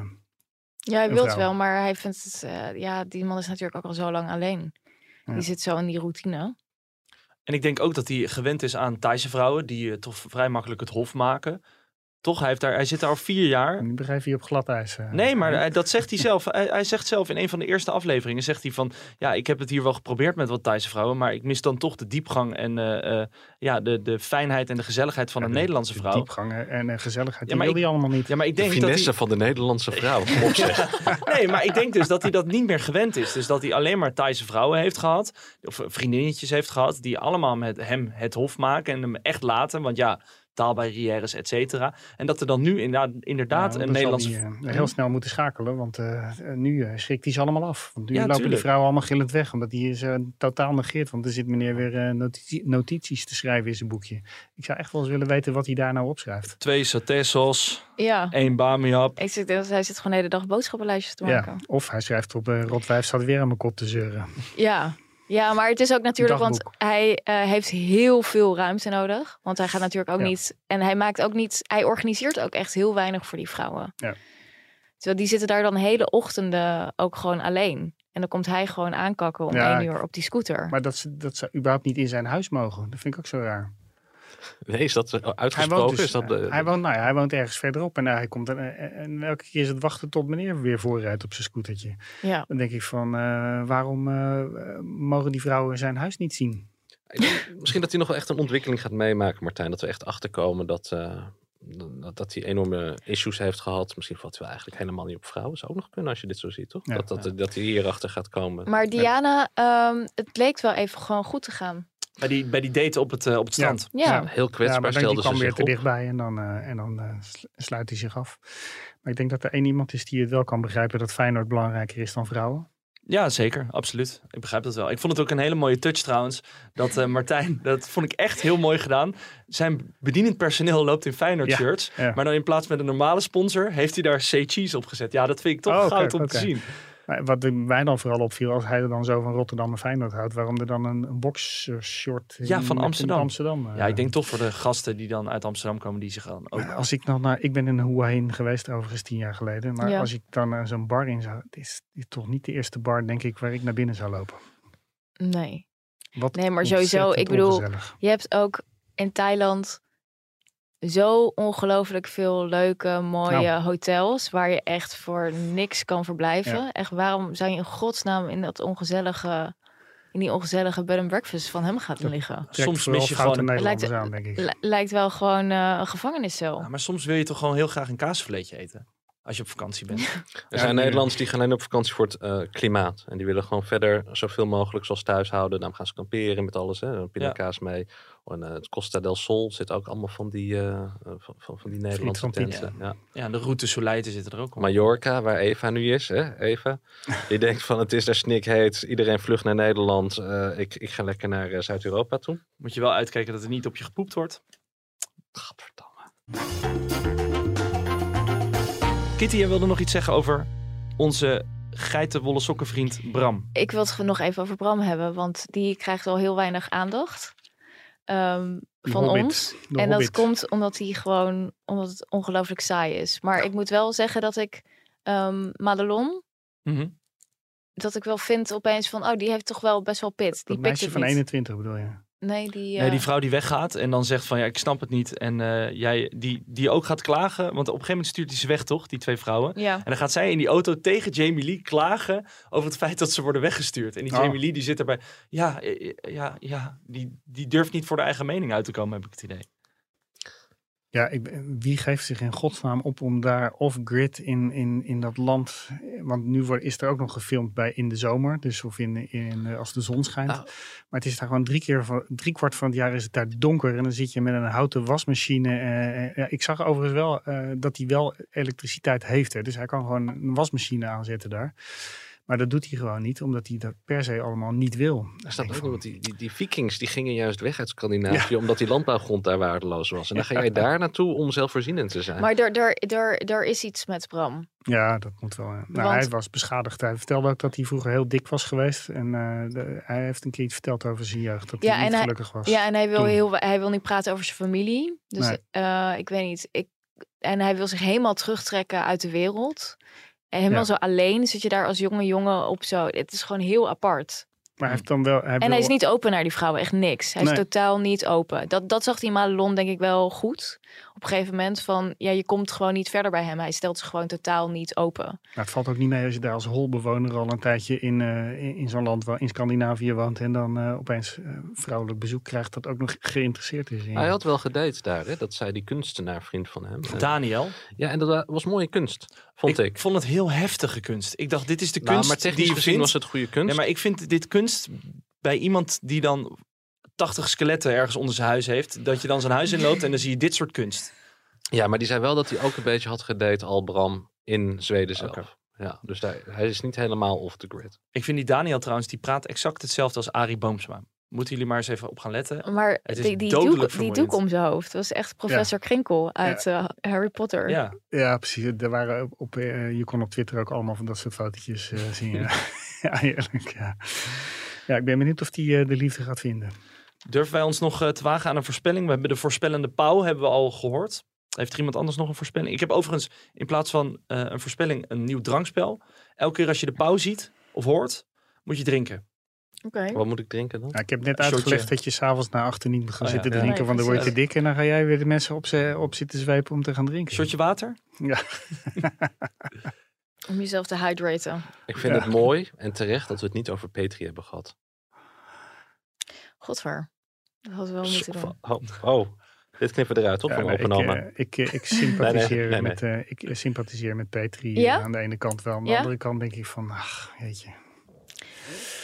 Ja, hij
een
wil het
vrouw?
wel, maar hij vindt het. eh, ja, die man is natuurlijk ook al zo lang alleen.
Ja.
Die zit zo in die routine.
En ik denk ook dat hij gewend is aan Thaise vrouwen. Die eh, toch vrij makkelijk het hof maken. Toch, hij, heeft daar, hij zit daar al vier jaar.
Nu begrijp je op glad ijs. eh.
Nee, maar hij- dat zegt hij zelf. Hij, hij zegt zelf in een van de eerste afleveringen, zegt hij van, ja, ik heb het hier wel geprobeerd met wat Thaise vrouwen, maar ik mis dan toch de diepgang en eh, eh, ja, de, de fijnheid en de gezelligheid van een Nederlandse vrouw.
diepgang en eh, gezelligheid, die
maar
wil
ik-
die allemaal niet.
Ja, maar ik
De
denk dat
finesse
hij-
van de Nederlandse vrouw. Kom op zeg.
Nee, maar ik denk dus dat hij dat niet meer gewend is. Dus dat hij alleen maar Thaise vrouwen heeft gehad. Of eh, vriendinnetjes heeft gehad. Die allemaal met hem het hof maken. En hem echt laten. Want ja, taalbarrières, et cetera. En dat er dan nu inderdaad, inderdaad
Ja, dan
een
zal
Nederlandse...
die, eh, heel snel moeten schakelen, want eh, eh, nu eh, schrikt hij ze allemaal af. Want nu
Ja,
lopen
tuurlijk.
die vrouwen allemaal gillend weg, omdat die is eh, totaal negeert. Want er zit meneer weer eh, notitie- notities te schrijven in zijn boekje. Ik zou echt wel eens willen weten wat hij daar nou opschrijft.
Twee satessos,
Ja.
één bamiap.
Ik zit, dus hij zit gewoon de hele dag boodschappenlijstjes te
Ja,
maken.
of hij schrijft op eh Rotwijf staat weer aan mijn kop te zeuren.
Ja. Ja, maar het is ook natuurlijk, want
Dagboek.
hij eh, heeft heel veel ruimte nodig. Want hij gaat natuurlijk ook
Ja.
niet. En hij maakt ook niet. Hij organiseert ook echt heel weinig voor die vrouwen.
Ja.
Terwijl die zitten daar dan hele ochtenden ook gewoon alleen. En dan komt hij gewoon aankakken om
Ja,
één
ik-
uur op die scooter.
Maar dat, ze- dat ze überhaupt niet in zijn huis mogen. Dat vind ik ook zo raar.
Nee, is dat eh,
Hij
uitgesproken?
woont, dus,
is dat, eh,
hij, woont, nou ja, hij woont ergens verderop en eh, hij komt. En, en- en elke keer is het wachten tot meneer weer voorrijdt op zijn scootertje.
Ja.
Dan denk ik van, eh, waarom eh, mogen die vrouwen zijn huis niet zien?
Misschien dat hij nog wel echt een ontwikkeling gaat meemaken, Martijn. Dat we echt achterkomen dat, eh, dat, dat hij enorme issues heeft gehad. Misschien valt hij wel eigenlijk helemaal niet op vrouwen. Zou ook nog kunnen als je dit zo ziet, toch?
Ja,
dat, dat,
ja.
dat hij hierachter gaat komen.
Maar Diana, ehm, het leek wel even gewoon goed te gaan.
Bij die, bij die date op het, eh, op het strand.
Ja. Ja,
heel
ja,
kwetsbaar
maar dan, die
stelde ze
kwam weer
zich
te
op.
dichtbij en dan, eh, en dan eh, sl- sluit hij zich af. Maar ik denk dat er één iemand is die het wel kan begrijpen dat Feyenoord belangrijker is dan vrouwen.
Ja, zeker. Absoluut. Ik begrijp dat wel. Ik vond het ook een hele mooie touch trouwens. Dat eh, Martijn, dat vond ik echt heel mooi gedaan. Zijn bedienend personeel loopt in Feyenoord
Ja,
shirts.
ja.
Maar dan in plaats met een normale sponsor heeft hij daar C-Cheese op gezet. Ja, dat vind ik toch
Oh, oké,
goud om
oké.
te zien.
Maar wat mij dan vooral opviel, als hij er dan zo van Rotterdam en Feyenoord houdt, waarom er dan een, een boxershort
Ja, van
in- in
Amsterdam.
Amsterdam eh,
Ja, ik denk toch voor de gasten die dan uit Amsterdam komen, die zich dan ook...
Maar als ik dan naar, ik ben in Hua Hin geweest overigens tien jaar geleden. Maar
Ja.
als ik dan naar zo'n bar in zou, dit is, dit is toch niet de eerste bar denk ik waar ik naar binnen zou lopen.
Nee.
Wat
Nee, maar sowieso,
ontzettend
ik bedoel,
ongezellig.
je hebt ook in Thailand zo ongelooflijk veel leuke, mooie
Nou.
hotels waar je echt voor niks kan verblijven.
Ja.
Echt, waarom zou je in godsnaam in dat ongezellige, in die ongezellige bed and breakfast van hem gaan liggen?
Trekt
soms
vooral
mis je
foute
gewoon-
Nederlanders
Lijkt-
aan denk ik.
Li- lijkt wel gewoon eh, een gevangeniscel.
Ja, maar soms wil je toch gewoon heel graag een kaasvleetje eten. Als je op vakantie bent.
Er zijn
Ja,
Nederlanders die gaan alleen op vakantie voor het eh, klimaat. En die willen gewoon verder zoveel mogelijk zoals thuis houden. Daarom gaan ze kamperen met alles. Hè. Een Pindakaas mee. En eh, het Costa del Sol zit ook allemaal van die, eh, eh, van, van, van die Nederlandse
van Piet.
tenten. Ja.
Ja, de route Soleite zit er ook op.
Mallorca, waar Eva nu is. Hè? Eva. Die denkt van het is daar snikheet. Iedereen vlucht naar Nederland. Eh, ik, ik ga lekker naar eh, Zuid-Europa toe.
Moet je wel uitkijken dat er niet op je gepoept wordt. Kitty, jij wilde nog iets zeggen over onze geitenwolle sokkenvriend Bram.
Ik wil het gewoon nog even over Bram hebben, want die krijgt al heel weinig aandacht ehm,
Die
van
Hobbit,
ons.
de
en
Hobbit.
dat komt omdat hij gewoon, omdat het ongelooflijk saai is. Maar ik moet wel zeggen dat ik ehm, Madelon,
Mhm.
dat ik wel vind opeens van, oh, die heeft toch wel best wel pit. Die
Dat
pikt
meisje
het
van
niet.
21 bedoel je?
Nee, die, eh,
Nee, die vrouw die weggaat en dan zegt van ja, ik snap het niet. En eh, jij, die, die ook gaat klagen. Want op een gegeven moment stuurt hij ze weg, toch? Die twee vrouwen.
Ja.
En dan gaat zij in die auto tegen Jamie Lee klagen over het feit dat ze worden weggestuurd. En die
Oh.
Jamie Lee die zit erbij. Ja, eh, eh, ja, ja. Die, die durft niet voor de eigen mening uit te komen, heb ik het idee.
Ja, ik, ben- wie geeft zich in godsnaam op om daar off-grid in, in, in dat land... Want nu wordt, is er ook nog gefilmd bij in de zomer. Dus of in, in, eh, als de zon schijnt.
Nou.
Maar het is daar gewoon drie, keer van, drie kwart van het jaar is het daar donker. En dan zit je met een houten wasmachine. eh, ja, ik zag overigens wel eh, dat hij wel elektriciteit heeft. Hè, dus hij kan gewoon een wasmachine aanzetten daar. Maar dat doet hij gewoon niet, omdat hij dat per se allemaal niet wil.
Daar
Ik
staat
denk
ook
van,
nog, want die, die, die vikings die gingen juist weg uit Scandinavië. Omdat die landbouwgrond daar waardeloos was. En dan ga jij daar naartoe om zelfvoorzienend te zijn.
Maar er, er, er, er is iets met Bram.
Ja, dat moet wel. ja. Nou,
Want-
Hij was beschadigd. Hij vertelde ook dat hij vroeger heel dik was geweest. En eh, de- hij heeft een keer iets verteld over zijn jeugd. Dat hij niet
hij,
gelukkig was.
Ja, en hij wil,
toen.
heel, we- hij wil niet praten over zijn familie. Dus
Nee.
eh, ik weet niet. Ik, en hij wil zich helemaal terugtrekken uit de wereld. En helemaal
Ja.
zo alleen zit je daar als jonge jongen op zo. Het is gewoon heel apart.
Maar hij heeft dan wel... Hij
en hij
wil-
is niet open naar die vrouwen, echt niks. Hij is
Nee.
totaal niet open. Dat, dat zag die Madelon denk ik wel goed. Op een gegeven moment van, ja, je komt gewoon niet verder bij hem. Hij stelt zich gewoon totaal niet open.
Nou, het valt ook niet mee als je daar als holbewoner al een tijdje in, eh, in, in zo'n land, wa- in Scandinavië woont. En dan eh, opeens eh, vrouwelijk bezoek krijgt dat ook nog geïnteresseerd is in je.
Hij had wel gedate daar, hè? dat zei die kunstenaar vriend van hem. En-
Daniel,
Ja, en dat wa- was mooie kunst, vond ik.
ik vond het heel heftige kunst. Ik dacht, dit is de
Nou,
kunst
maar
die
technisch
je
gezien
vindt.
was het goede kunst.
Nee, maar ik vind dit kunst bij iemand die dan 80 skeletten ergens onder zijn huis heeft, dat je dan zijn huis inloopt en dan zie je dit soort kunst.
Ja, maar die zei wel dat hij ook een beetje had gedate al Bram in Zweden zelf. Ja, dus daar, hij is niet helemaal off the grid.
Ik vind die Daniel trouwens, die praat exact hetzelfde als Arie Boomsma. Moeten jullie maar eens even op gaan
Oh,
letten.
Maar
Het is
die, die,
dodelijk
doek, die
vermoeiend.
doek om zijn hoofd was echt professor Krinkel uit eh, Harry Potter.
Ja,
Ja, precies. Er waren op, op, eh, je kon op Twitter ook allemaal van dat soort fotootjes eh, zien. ja. ja, eerlijk. Ja. Ja, ik ben benieuwd of die eh, de liefde gaat vinden.
Durven wij ons nog eh, te wagen aan een voorspelling? We hebben de voorspellende pauw hebben we al gehoord. Heeft er iemand anders nog een voorspelling? Ik heb overigens in plaats van eh, een voorspelling een nieuw drankspel. Elke keer als je de pauw ziet of hoort, moet je drinken.
Oké.
Wat moet ik drinken dan?
Nou, ik heb net
Een shotje.
uitgelegd dat je s'avonds na achter niet moet gaan
Oh, ja.
zitten
Ja.
drinken,
Nee,
want dan word je te
precies.
dik en dan ga jij weer de mensen op, ze- op zitten zwepen om te gaan drinken.
Shotje water?
Ja.
Om jezelf te hydraten.
Ik vind
Ja.
het mooi en terecht dat we het niet over Petri hebben gehad.
Godver. Dat hadden we wel moeten
Zo-
doen.
oh, oh, dit knippen we eruit op
Ja,
van
nee, ik,
opgenomen.
eh, ik, eh, ik sympathiseer,
Nee, nee, nee,
Met, eh, ik eh, sympathiseer met Petri eh,
Ja?
aan de ene kant wel. Aan de
Ja?
andere kant denk ik van, ach, weet je.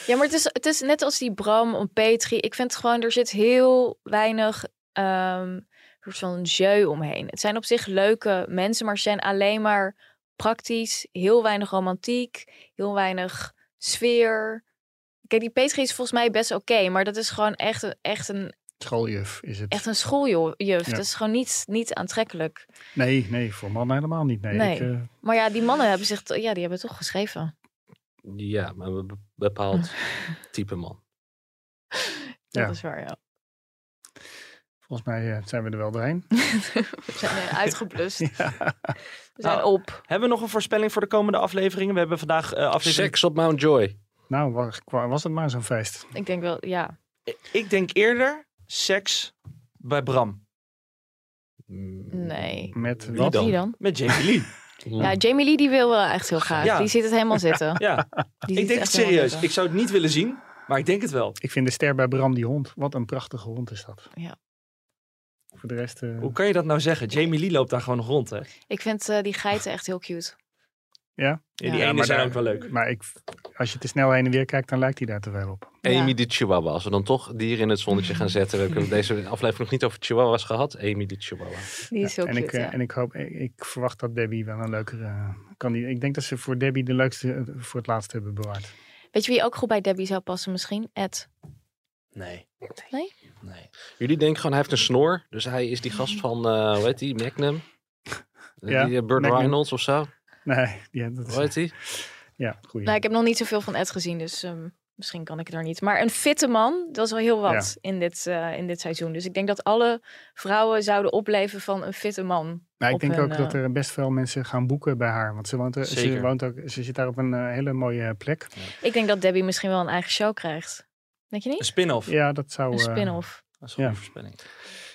Ja, maar het is, het is net als die Bram en Petri. Ik vind het gewoon, er zit heel weinig ehm soort van jeu omheen. Het zijn op zich leuke mensen, maar ze zijn alleen maar praktisch. Heel weinig romantiek, heel weinig sfeer. Kijk, die Petri is volgens mij best oké, maar dat is gewoon echt, een- echt een,
Schooljuf is het.
echt een schooljuf.
Ja.
Dat is gewoon niet, niet aantrekkelijk.
Nee, nee, voor mannen helemaal niet. Nee,
Nee.
Ik, eh,
Maar ja, die mannen hebben zich, ja, die hebben het toch geschreven.
Ja, maar een be- bepaald type man.
Dat
Ja.
is waar, ja.
volgens mij eh, zijn we er wel doorheen.
We zijn eh, uitgeblust. We zijn
Nou,
op.
Hebben we nog een voorspelling voor de komende afleveringen? We hebben vandaag eh, aflevering...
Seks op Mount Joy.
Nou, wa- kwa- was het maar zo'n feest.
Ik denk wel, ja.
Ik denk eerder seks bij Bram.
Mm.
Nee.
Met
Wie
wat?
dan?
Wie dan?
Met Jamie Lee.
Ja, Jamie Lee die wil wel echt heel graag.
Ja.
Die ziet het helemaal zitten.
ja,
Die
ik
ziet echt
denk het
helemaal
serieus.
zitten.
Ik zou het niet willen zien, maar ik denk het wel.
Ik vind de ster bij Bram die hond. Wat een prachtige hond is dat.
Ja.
Voor de rest... eh,
Hoe kan je dat nou zeggen? Jamie Lee loopt daar gewoon nog rond, hè?
Ik vind eh, die geiten echt heel cute.
ja?
Die
Ja.
ene
maar
zijn
daar-
ook wel leuk.
Maar ik, als je te snel heen en weer kijkt, dan lijkt hij daar te wel op.
Amy
Ja.
de Chihuahua. Als we dan toch dieren in het zonnetje gaan zetten. We hebben deze aflevering nog niet over Chihuahuas gehad. Amy de Chihuahua.
Die is heel
en
cute.
ik, eh,
ja.
en ik, hoop, ik, ik verwacht dat Debbie wel een leukere kandidaat... Ik denk dat ze voor Debbie de leukste eh, voor het laatst hebben bewaard.
Weet je wie ook goed bij Debbie zou passen misschien? Ed.
Nee.
Nee?
Nee.
Jullie denken gewoon, hij heeft een snor. Dus hij is die gast van, eh hoe heet die? Magnum?
Ja,
die eh, Burt
Magnum.
Reynolds of zo.
Nee, ja, dat is...
Hoe heet die?
Ja, goeie.
Nou, ik heb nog niet zoveel van Ed gezien, dus ehm, misschien kan ik het er niet. Maar een fitte man, dat is wel heel wat in, dit, eh, in dit seizoen. Dus ik denk dat alle vrouwen zouden opleven van een fitte man.
Maar ik
op
denk
hun,
ook dat
eh,
er best veel mensen gaan boeken bij haar. Want ze, woont, er- ze,
Zeker.
woont ook, ze zit daar op een eh, hele mooie plek.
Ik denk dat Debbie misschien wel een eigen show krijgt. Denk je
Een
niet?
spin-off.
Ja, dat zou...
Een
eh,
spin-off.
Dat is gewoon
Ja.
een voorspelling.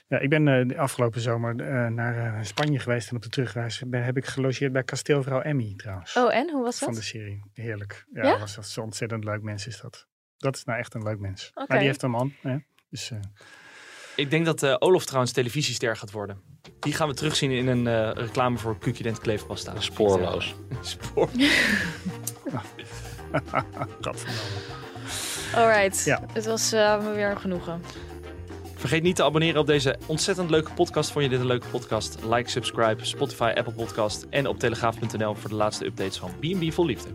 ja, ik ben eh, de afgelopen zomer eh, naar eh, Spanje geweest. En op de terugreis ben, heb ik gelogeerd bij kasteelvrouw Emmy trouwens.
Oh, en? Hoe was dat?
van de serie. Heerlijk. Ja,
Ja?
Was, dat is een ontzettend leuk mens is dat. Dat is nou echt een leuk mens.
Oké.
Maar die heeft een man. Hè? Dus, eh,
Ik denk dat eh, Olaf trouwens televisiester gaat worden. Die gaan we terugzien in een eh, reclame voor Cucudent kleefpasta.
Spoorloos.
Spoor.
gadverdamme.
Alright.
Ja.
Het was eh, weer een genoegen.
Vergeet niet te abonneren op deze ontzettend leuke podcast. Vond je dit een leuke podcast? Like, subscribe, Spotify, Apple Podcast en op telegraaf.nl voor de laatste updates van B&B Vol Liefde.